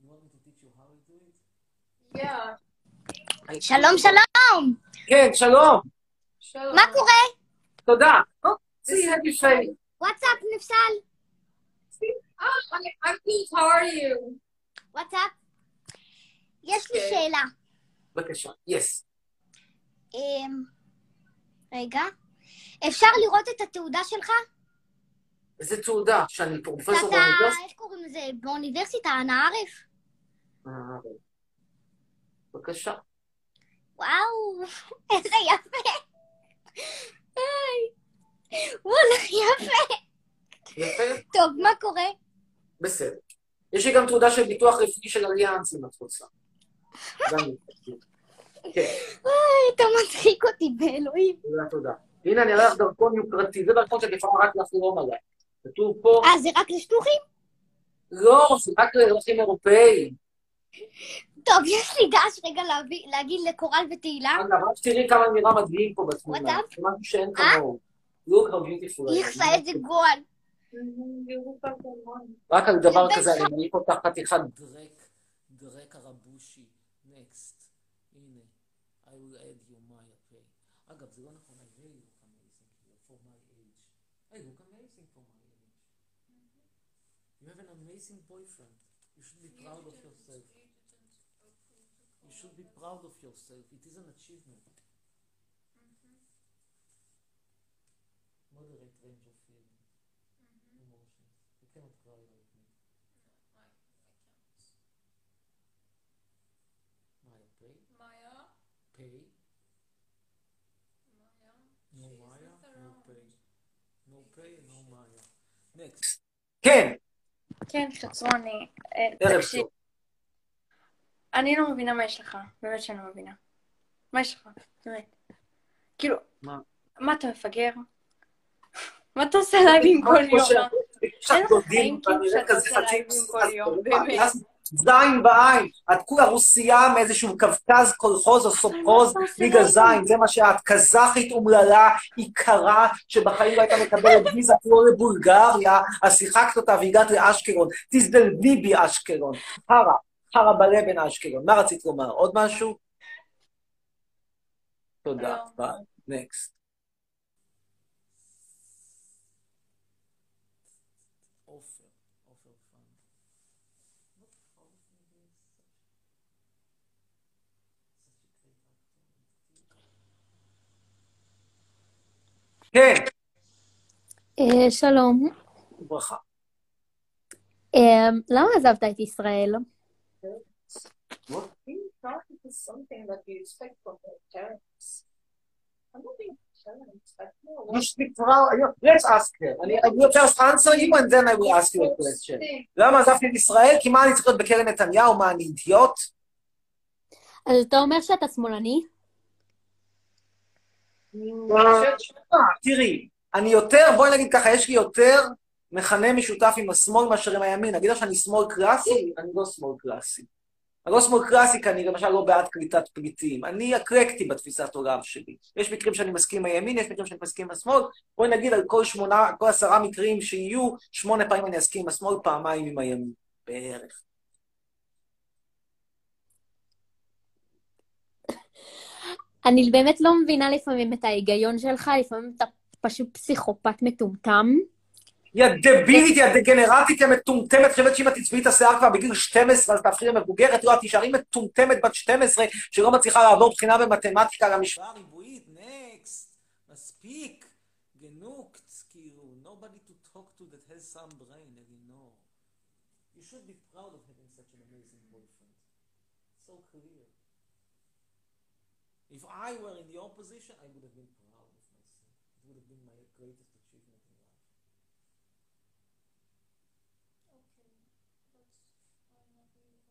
S2: You want me to teach you how to do it?
S6: Yeah.
S17: שלום, שלום!
S5: כן, שלום.
S17: מה קורה?
S5: תודה. See, happy Friday.
S17: What's up, נפסל?
S6: Oh, I- I'm good. How are you?
S17: What's up? יש לי
S5: כן.
S17: שאלה.
S5: בבקשה. יס.
S17: אמ, רגע. אפשר לראות את התעודה שלך?
S5: איזה תעודה, שאני פרופסור
S17: אתה,
S5: באוניברסיטה.
S17: איך קוראים לזה? באוניברסיטה, אנא ערף?
S5: אה, בבקשה.
S17: וואו, איזה יפה. היי. וואלה, יפה.
S5: יפה,
S17: טוב, מה קורה?
S5: בסדר. יש לי גם תעודה של ביטוח רפואי של אליאנס, אם את רוצה. גם לי. כן.
S17: היי, אתה מצחיק אותי באלוהים.
S5: תודה, תודה. הנה, אני אראה לך דרכון יוקרתי, זה דרכון שאת יכולה רק לחלום עליו. כתוב פה...
S17: אה, זה רק לשלוחים?
S5: לא, זה רק לאזרחים אירופאים.
S17: טוב, יש לי דש רגע להביא- להגיד לקורל ותהילה.
S5: אגב, רק תראי כמה נראה מדהים פה בתמונה.
S17: וואטאפ?
S5: זה משהו שאין
S17: אה?
S5: כמוהו. Look how beautiful. I am.
S17: איכסה, איזה גועל.
S5: רק על דבר כזה, אני מעיף אותך חתיכת...
S2: דרק, דרק הרבושי, נקסט, הנה, I will add you my okay. אגב, זה לא נכון, I really look amazing here for my age. I look amazing for my age. You have an amazing boyfriend. You should be proud of yourself. You should be proud of yourself. It is an achievement.
S6: Mm-hmm.
S2: Moderate range of feeling. Emotions. You cannot cry like me. Maya Pay.
S6: Maya.
S2: Pay. No Maya, no Pay. No Pay, no Maya. Next.
S5: כן,
S18: כן, חצרוני. אה,
S5: ערב
S18: תקשיב,
S5: טוב.
S18: אני לא מבינה מה יש לך. באמת שאני לא מבינה. מה יש לך? באמת. כאילו,
S5: מה?
S18: מה אתה מפגר? מה אתה עושה לייבים כל
S5: כמו
S18: יום?
S5: שאת-
S18: אין
S5: כשאת
S18: לך
S5: יודעים,
S18: חיים כאילו
S5: ואני
S18: שאתה
S5: רואה כזה
S18: עושה
S5: חצי
S18: לייבים כל יום, באמת.
S5: אז זין בעין, את כולה רוסייה מאיזשהו קווקז, קולחוז
S18: לא
S5: או סופחוז, ליגה זין, זה מה שאת, קזחית אומללה, עיקרה, שבחיים לא הייתה מקבלת ויזה כמו לבולגריה, אז שיחקת אותה והגעת לאשקלון, תזדלבי בי אשקלון, חרא, חרא בלבן אשקלון, מה רצית לומר, עוד משהו? תודה,
S18: לא.
S5: ביי, נקסט.
S2: Offer. Offer fun. What how is it doing such such a great actor?
S5: כן,
S17: אה, שלום.
S5: וברכה.
S17: אה, למה עזבת את ישראל?
S5: What?
S19: Being proud is something that you expect from your parents. I'm not being parents, but more
S5: You speak proud. you- Let's ask her. אני I will first answer you and then I will ask you a question. למה עזבתי את ישראל? כי מה אני צריך להיות בקרן נתניהו? מה, אני אידיוט?
S17: אז אתה אומר שאתה שמאלני?
S5: תראי, אני יותר, בואי נגיד ככה, יש לי יותר מכנה משותף עם השמאל מאשר עם הימין. נגיד לך שאני שמאל קלאסי? אני לא שמאל קלאסי. אני לא שמאל קלאסי, כי אני למשל לא בעד קליטת פליטים. אני אקלקטי בתפיסת עולם שלי. יש מקרים שאני מסכים עם הימין, יש מקרים שאני מסכים עם השמאל. בואי נגיד על כל שמונה, כל עשרה מקרים שיהיו, שמונה פעמים אני אסכים עם השמאל, פעמיים עם הימין, בערך.
S17: אני באמת לא מבינה לפעמים את ההיגיון שלך, לפעמים אתה פשוט פסיכופת מטומטם.
S5: יא דבילית, יא דגנרטית, יא מטומטמת, חושבת שאם את תצבעי את השיער כבר בגיל 12, אז תהפכי למבוגרת, לא, את תישארי מטומטמת בת 12, שלא מצליחה לעבור בחינה במתמטיקה למשפט.
S2: שפה ריבועית, נקסט. מספיק. גנוקט, כאילו. Nobody to talk to that has some brain, אלינור. You should be proud of having such an amazing boyfriend. So clear. If I were in your position, I would have been proud of myself. It would have been my greatest achievement in life.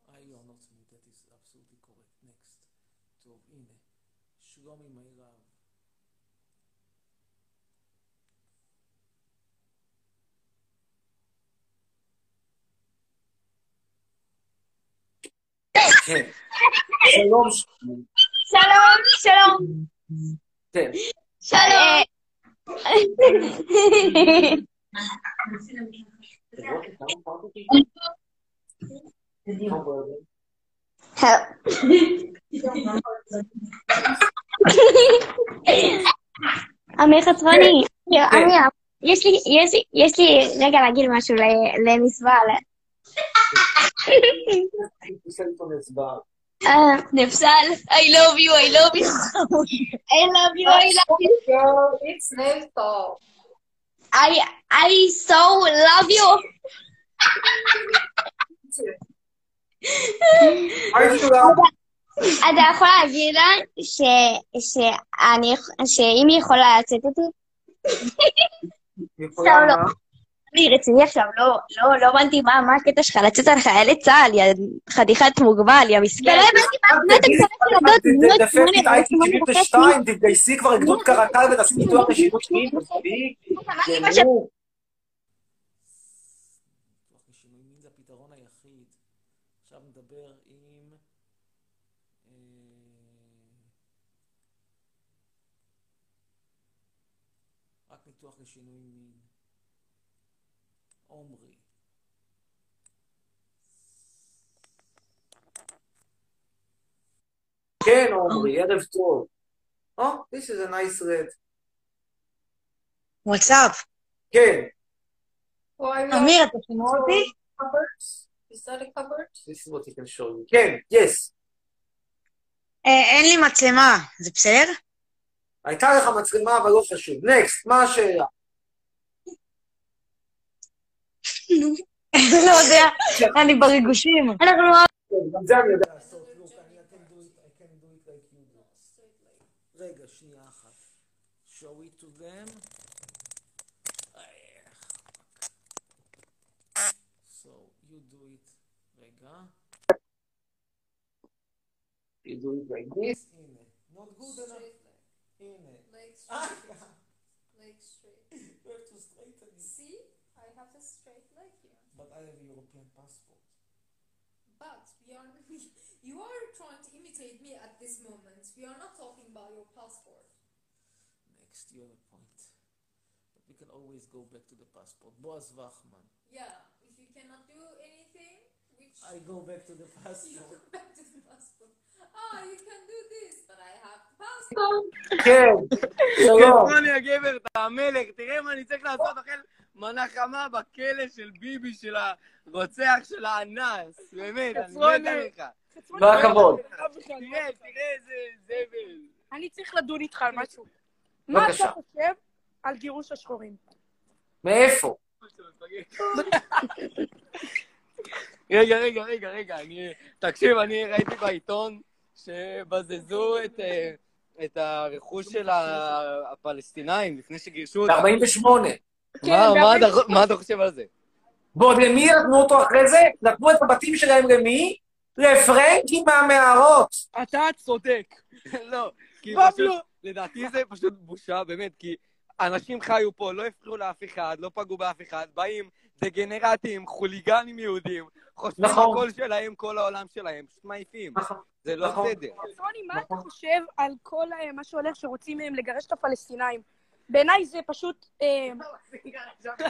S2: I you are not smooth, that is absolutely correct. Next. טוב, הנה. שלומי מירב.
S5: כן. שלום,
S17: שלום, שלום.
S5: כן.
S17: שלום.
S20: אמיר חצרוני, אמיר, יש לי, יש לי, יש לי רגע להגיד משהו ל- למסבל. אה, נפסל, I love you, I love you. I love you, I love you.
S6: Girl, it's Nelto.
S20: I, I so love you. אתה יכול להגיד לה ש- שאני- שאם היא יכולה לצאת איתי? סתם לא. אני רציני עכשיו, לא, לא, לא הבנתי מה מה הקטע שלך, לצאת על חיילי צה"ל, יא חתיכת מוגבל, יא מסכן.
S5: לא הבנתי מה אתה מצטרף לדוד. דפק את אייטי 72, תתגייסי כבר לגדוד קרקל ותעשי ניתוח לשירות שלי. נו,
S2: שינוי מין זה הפתרון היחיד. עכשיו נדבר עם... אה, eh, רק ניתוח לשינוי מין. עומרי.
S5: כן, עומרי, ערב טוב. או, this is a nice red.
S21: וואטסאפ.
S5: כן.
S21: אמיר, אתה שומע אותי?
S6: Is that a cupboard?
S5: This is what you can show me. כן, yes.
S21: אה, אין לי מצלמה, זה בסדר?
S5: הייתה לך מצלמה, אבל לא חשוב. נקסט, מה השאלה?
S21: לא יודע, אני בריגושים. אנחנו...
S5: גם זה אני יודע.
S2: רגע, שנייה אחת. show it to them. אה, So, you do it. רגע.
S5: You do it like this.
S2: הנה. Not good enough. הנה.
S6: Leg straight.
S2: You have to straighten it.
S6: See, I have a straight leg here.
S2: But I have a European passport.
S6: But we are, you are trying to imitate me at this moment. We are not talking about your passport.
S2: Next, you have a point. But we can always go back to the passport. Boaz Wachman.
S6: Yeah, if you cannot do anything, which
S2: I go back to the
S6: you
S2: passport.
S6: go back to the passport. Ah, you can do this, but I have the
S5: כן, שלום.
S10: חצרוני הגבר, אתה המלך, תראה מה אני צריך לעשות, אוכל מנה חמה בכלא של ביבי, של הרוצח, של האנס, באמת, אני מת
S9: חצרוני.
S10: עליך.
S5: לא הכבוד.
S9: תראה, תראה איזה זבל. אני צריך לדון איתך על משהו. מה
S5: בבקשה.
S9: אתה חושב על גירוש השחורים?
S5: מאיפה?
S9: לא
S13: רגע, רגע, רגע, רגע, אני... תקשיב, אני ראיתי בעיתון שבזזו את, אה, את הרכוש של ה- הפלסטינאים לפני שגירשו אותם.
S5: ב-48.
S13: מה- מה אתה חו- מה אתה חושב על זה?
S5: ועוד למי נתנו אותו אחרי זה? נתנו את הבתים שלהם למי? לפרנקים מהמערות.
S13: אתה צודק. לא, כי
S5: פבלו.
S13: פשוט, לדעתי זה פשוט בושה, באמת, כי אנשים חיו פה, לא הפריעו לאף אחד, לא פגעו באף אחד, באים דגנרטים, חוליגנים יהודים, חושבים
S5: נכון.
S13: הכל שלהם, כל העולם שלהם, פשוט מעיפים. זה לא
S5: נכון.
S13: בסדר.
S9: רוני, מה אתה חושב על כל אה, מה שהולך שרוצים מהם לגרש את הפלסטינאים? בעיניי זה פשוט... אה,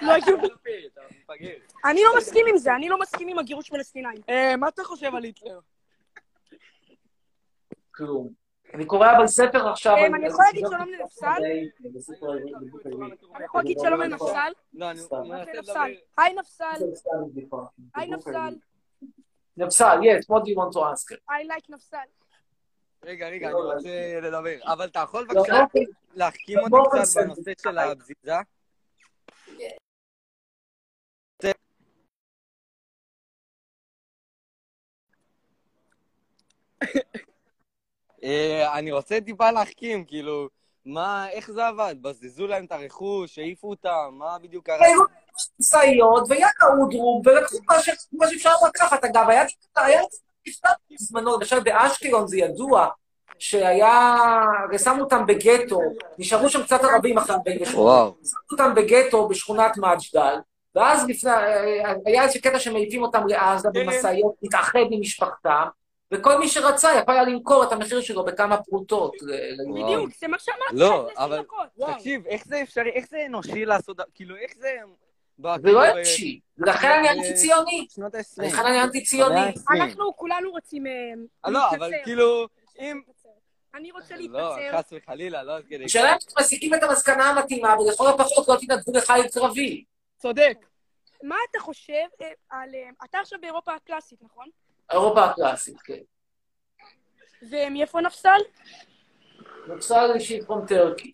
S9: לא הגיוני. אני לא מסכים עם זה, אני לא מסכים עם הגירוש פלסטינאים. אה, מה אתה חושב על היטלר?
S5: כלום. אני קורא אבל ספר עכשיו... לא
S9: אה,
S5: על-
S9: אני
S5: על-
S9: יכול להגיד שלום לנפסל?
S5: לא אני לא
S9: יכול להגיד שלום לנפסל?
S13: לא, אני...
S9: מה זה נפסל? היי נפסל, היי נפסל,
S5: נפסל, yes, what do you want to ask?
S9: I like נפסל.
S13: רגע, רגע, אני רוצה לדבר. אבל אתה יכול בבקשה
S5: לא, אוקיי.
S13: להחכים אותי
S5: באופן
S13: קצת
S5: סביר.
S13: בנושא של הבזיזה?
S6: passport.
S13: אה, אני רוצה טיפה להחכים, כאילו, מה, איך זה עבד? בזזו להם את הרכוש, העיפו אותם, מה בדיוק קרה?
S5: היו משאיות, ויאללה אודרום, ולקחו מה ש- מה שאפשר לקחת. אגב, היה היה נפתח בזמנו, למשל באשקלון זה ידוע, שהיה, הרי שמו אותם בגטו, נשארו שם קצת ערבים אחרי 48.
S13: וואו.
S5: שמו אותם בגטו בשכונת מג'דל, ואז לפני, היה איזה קטע שמעיפים אותם לעזה במשאיות, להתאחד עם משפחתם, וכל מי שרצה יכול היה למכור את המחיר שלו בכמה פרוטות. ל- ל-
S9: בדיוק, זה מה שאמרתי.
S13: כן לא, אבל, תקשיב, איך זה אה, אפשרי, איך זה אנושי לעשות, כאילו, איך זה
S5: זה לא אישי. לכן אני אנטי-ציוני.
S13: שנות ה-עשרים.
S5: לכן אני אנטי-ציוני.
S9: אנחנו כולנו רוצים אה,
S13: אה, לא, אבל
S9: להתקצר.
S13: כאילו, אם...
S9: אני רוצה
S13: לא,
S9: להתקצר.
S13: חס וחלילה, לא עד כדי...
S5: השאלה אם אתם מסיקים את המסקנה המתאימה, ולכל הפחות לא תתנדבו לחיל קרבי.
S9: צודק. מה אתה חושב אה, על... אה, אתה עכשיו באירופה הקלאסית, נכון?
S5: אירופה הקלאסית, כן.
S9: ומאיפה נפסל?
S5: נפסל אישית פרום טורקי,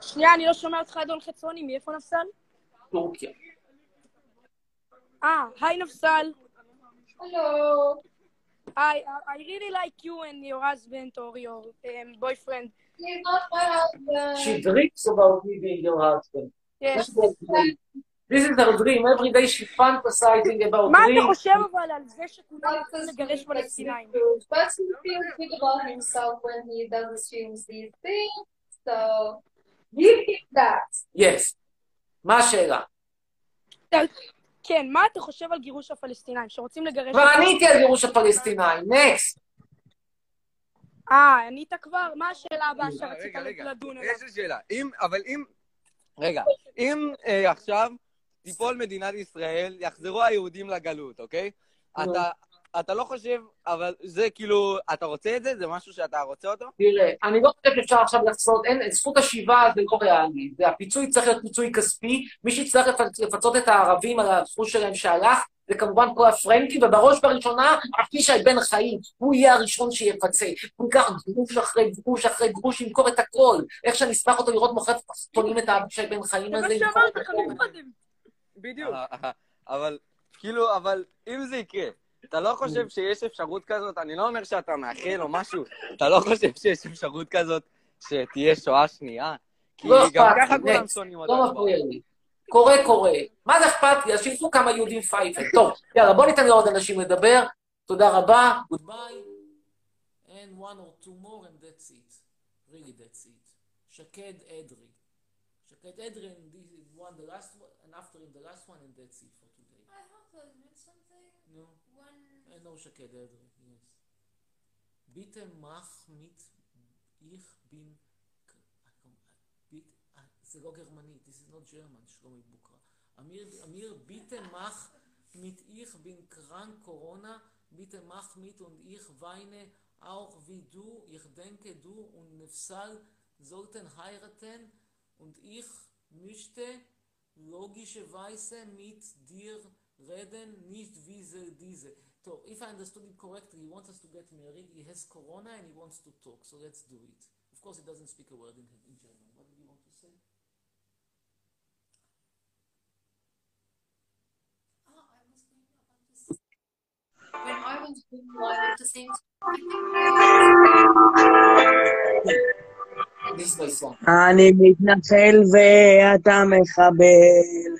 S9: שנייה, אני לא שומע אותך, אדון חצרוני, מאיפה נפסל?
S5: טורקיה.
S9: Ah, hi Nafsal.
S6: Hello.
S9: I uh, I really like you and your husband or your um, boyfriend.
S6: He's not my husband.
S5: She dreams about me being your husband.
S9: Yes.
S5: That's her dream. This is her dream. Every day she fantasizing about
S9: מה אתה
S5: dreams.
S9: חושב אבל על זה שכולם רוצים לגרש פלסטינאים?
S6: But he feels good about himself when he does assumes these things. So give him that.
S5: Yes. מה השאלה?
S9: כן, מה אתה חושב על גירוש הפלסטינאים שרוצים לגרש...
S5: כבר עניתי על גירוש הפלסטינאים. נקסט.
S9: אה, ענית כבר? מה השאלה הבאה שרצית לדון עליה?
S13: יש לי שאלה. אם, אבל אם... רגע, אם אה, עכשיו תיפול מדינת ישראל, יחזרו היהודים לגלות, אוקיי?
S5: נו.
S13: אתה... אתה לא חושב, אבל זה כאילו, אתה רוצה את זה? זה משהו שאתה רוצה אותו?
S5: תראה, אני לא חושב שאפשר עכשיו לחסות, אין, זכות השיבה זה לא ריאלי. זה- הפיצוי צריך להיות פיצוי כספי, מי שיצטרך לפ- לפצות את הערבים על הרכוש שלהם שהלך, זה כמובן כל הפרנקי, ובראש ובראשונה, אבישי בן חיים, הוא יהיה הראשון שיפצה. הוא ייקח גרוש אחרי גרוש אחרי גרוש, ימכור את הכל. איך שאני אשמח אותו לראות מוכר פונים את האבישי בן חיים
S9: זה מה
S5: הזה. ימכור
S9: שאמרת
S5: את
S9: לך
S5: הכל.
S9: מקודם.
S13: בדיוק. אה, אבל, כאילו, אבל אם זה יקרה, אתה לא חושב שיש אפשרות כזאת, אני לא אומר שאתה מאחל או משהו, אתה לא חושב שיש אפשרות כזאת שתהיה שואה שנייה? כי
S5: לא
S13: גם
S5: אכפת
S13: ככה
S5: לי,
S13: כולם
S5: נקסט.
S13: שונאים
S5: לא
S13: אותנו.
S5: מפריע לי. קורה, קורה. מה זה אכפת לי? אז שילכו כמה יהודים פייפל. טוב, יאללה, בוא ניתן לעוד אנשים לדבר. תודה רבה.
S2: Bye. And one or two more and that's it. Really that's it. שקד אדרי. שקד אדרי and this is one the last one and after him the last one and that's it for today.
S6: I have to admit something.
S2: No.
S6: One.
S2: And no שקד אה, אדרי. Yes. Bitte mach mit ich bin k- bit- אה, זה לא גרמנית, this is not German, שלומי בוקרה. אמיר, אמיר, bitte mach mit ich bin krank Corona, bitte mach mit und ich weine auch wie du, ich denke du und Nefsal sollten heiraten und ich möchte logischerweise mit dir reden, nicht wie sie diese. So, if I understood it correctly, he wants us to get married, he has corona and he wants to talk, so let's do it. Of course, he doesn't speak a word in, in German. What did you want to say?
S6: Oh, I was going about this. When I was doing live at the same
S5: This my song.
S21: אני מתנחל ואתה מחבל.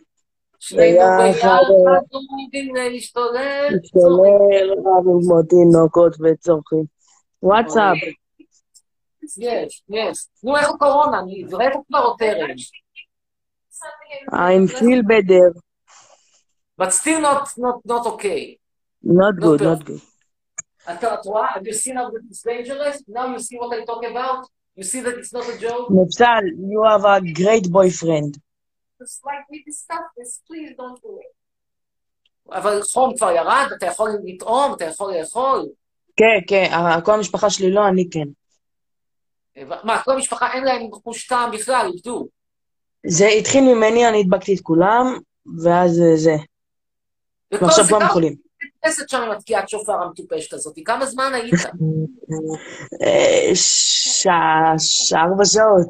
S5: שנינו
S21: ביחד
S5: ביחד לא יודעים להשתולל.
S21: משתולל רבים כמו תינוקות וצורכים. וואטסאפ.
S5: יש, יש. נו, איך הקורונה? אני זורק כבר עוד טרם.
S21: I'm feel better.
S5: But still not, not, not okay.
S21: Not good, not good.
S5: אתה, את רואה? Have you seen how this is dangerous? Now you see what I talk about? You see that it's not a joke?
S21: נפסל, you have a great boyfriend.
S6: Just like we discussed this, please don't do it.
S5: אבל חום כבר ירד, אתה יכול לטעום, אתה יכול לאכול.
S21: כן, כן, אה, כל המשפחה שלי לא, אני כן.
S5: מה, כל המשפחה אין להם חוש טעם בכלל, איבדו.
S21: זה התחיל ממני, אני הדבקתי את כולם, ואז אה, זה.
S5: וכל
S21: ועכשיו
S5: זה
S21: כולם
S5: גם-
S21: חולים.
S5: נכנסת שם עם התקיעת שופר המטופשת הזאת. כמה זמן היית?
S21: אה, שעה, שעה, ארבע שעות.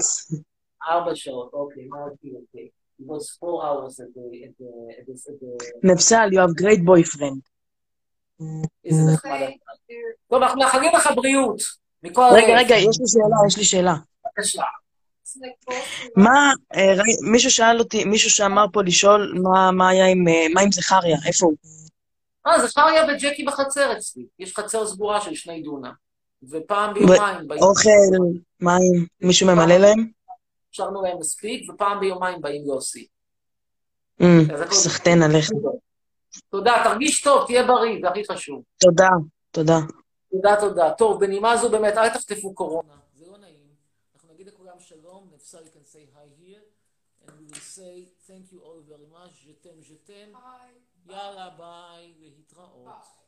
S5: ארבע שעות, אוקיי, מה אותי, אוקיי. It was four hours at the... at the- at the- at the-
S21: נפסל, you have great boyfriend.
S5: איזה
S21: Mm.
S5: נחמד. אתה. טוב, אנחנו מאחלים לך בריאות. מכל
S21: רגע,
S5: הלב.
S21: רגע, יש לי שאלה, יש לי שאלה.
S5: בבקשה.
S21: מה, אה, ראי- מישהו שאל אותי, מישהו שאמר פה לשאול מה- מה היה עם, אה, מה עם זכריה, איפה הוא?
S5: אה, זה חריה וג'קי בחצר אצלי. יש חצר סגורה של שני דונם. ופעם ביומיים, באים-
S21: אוקיי. אוכל, מים, מישהו ממלא להם?
S5: השארנו להם מספיק, ופעם ביומיים באים יוסי.
S21: אמ,
S5: אז הכל-
S21: סחטיין עליך.
S5: תודה, תרגיש טוב, תהיה בריא, זה הכי חשוב.
S21: תודה, תודה.
S5: תודה, תודה. טוב, בנימה זו באמת, אל תחטפו קורונה.
S2: אנחנו נגיד לכולם שלום, נפסל you can say hi here, and we will say thank you all very much, je t'aime, je t'aime, יאללה ביי, להתראות.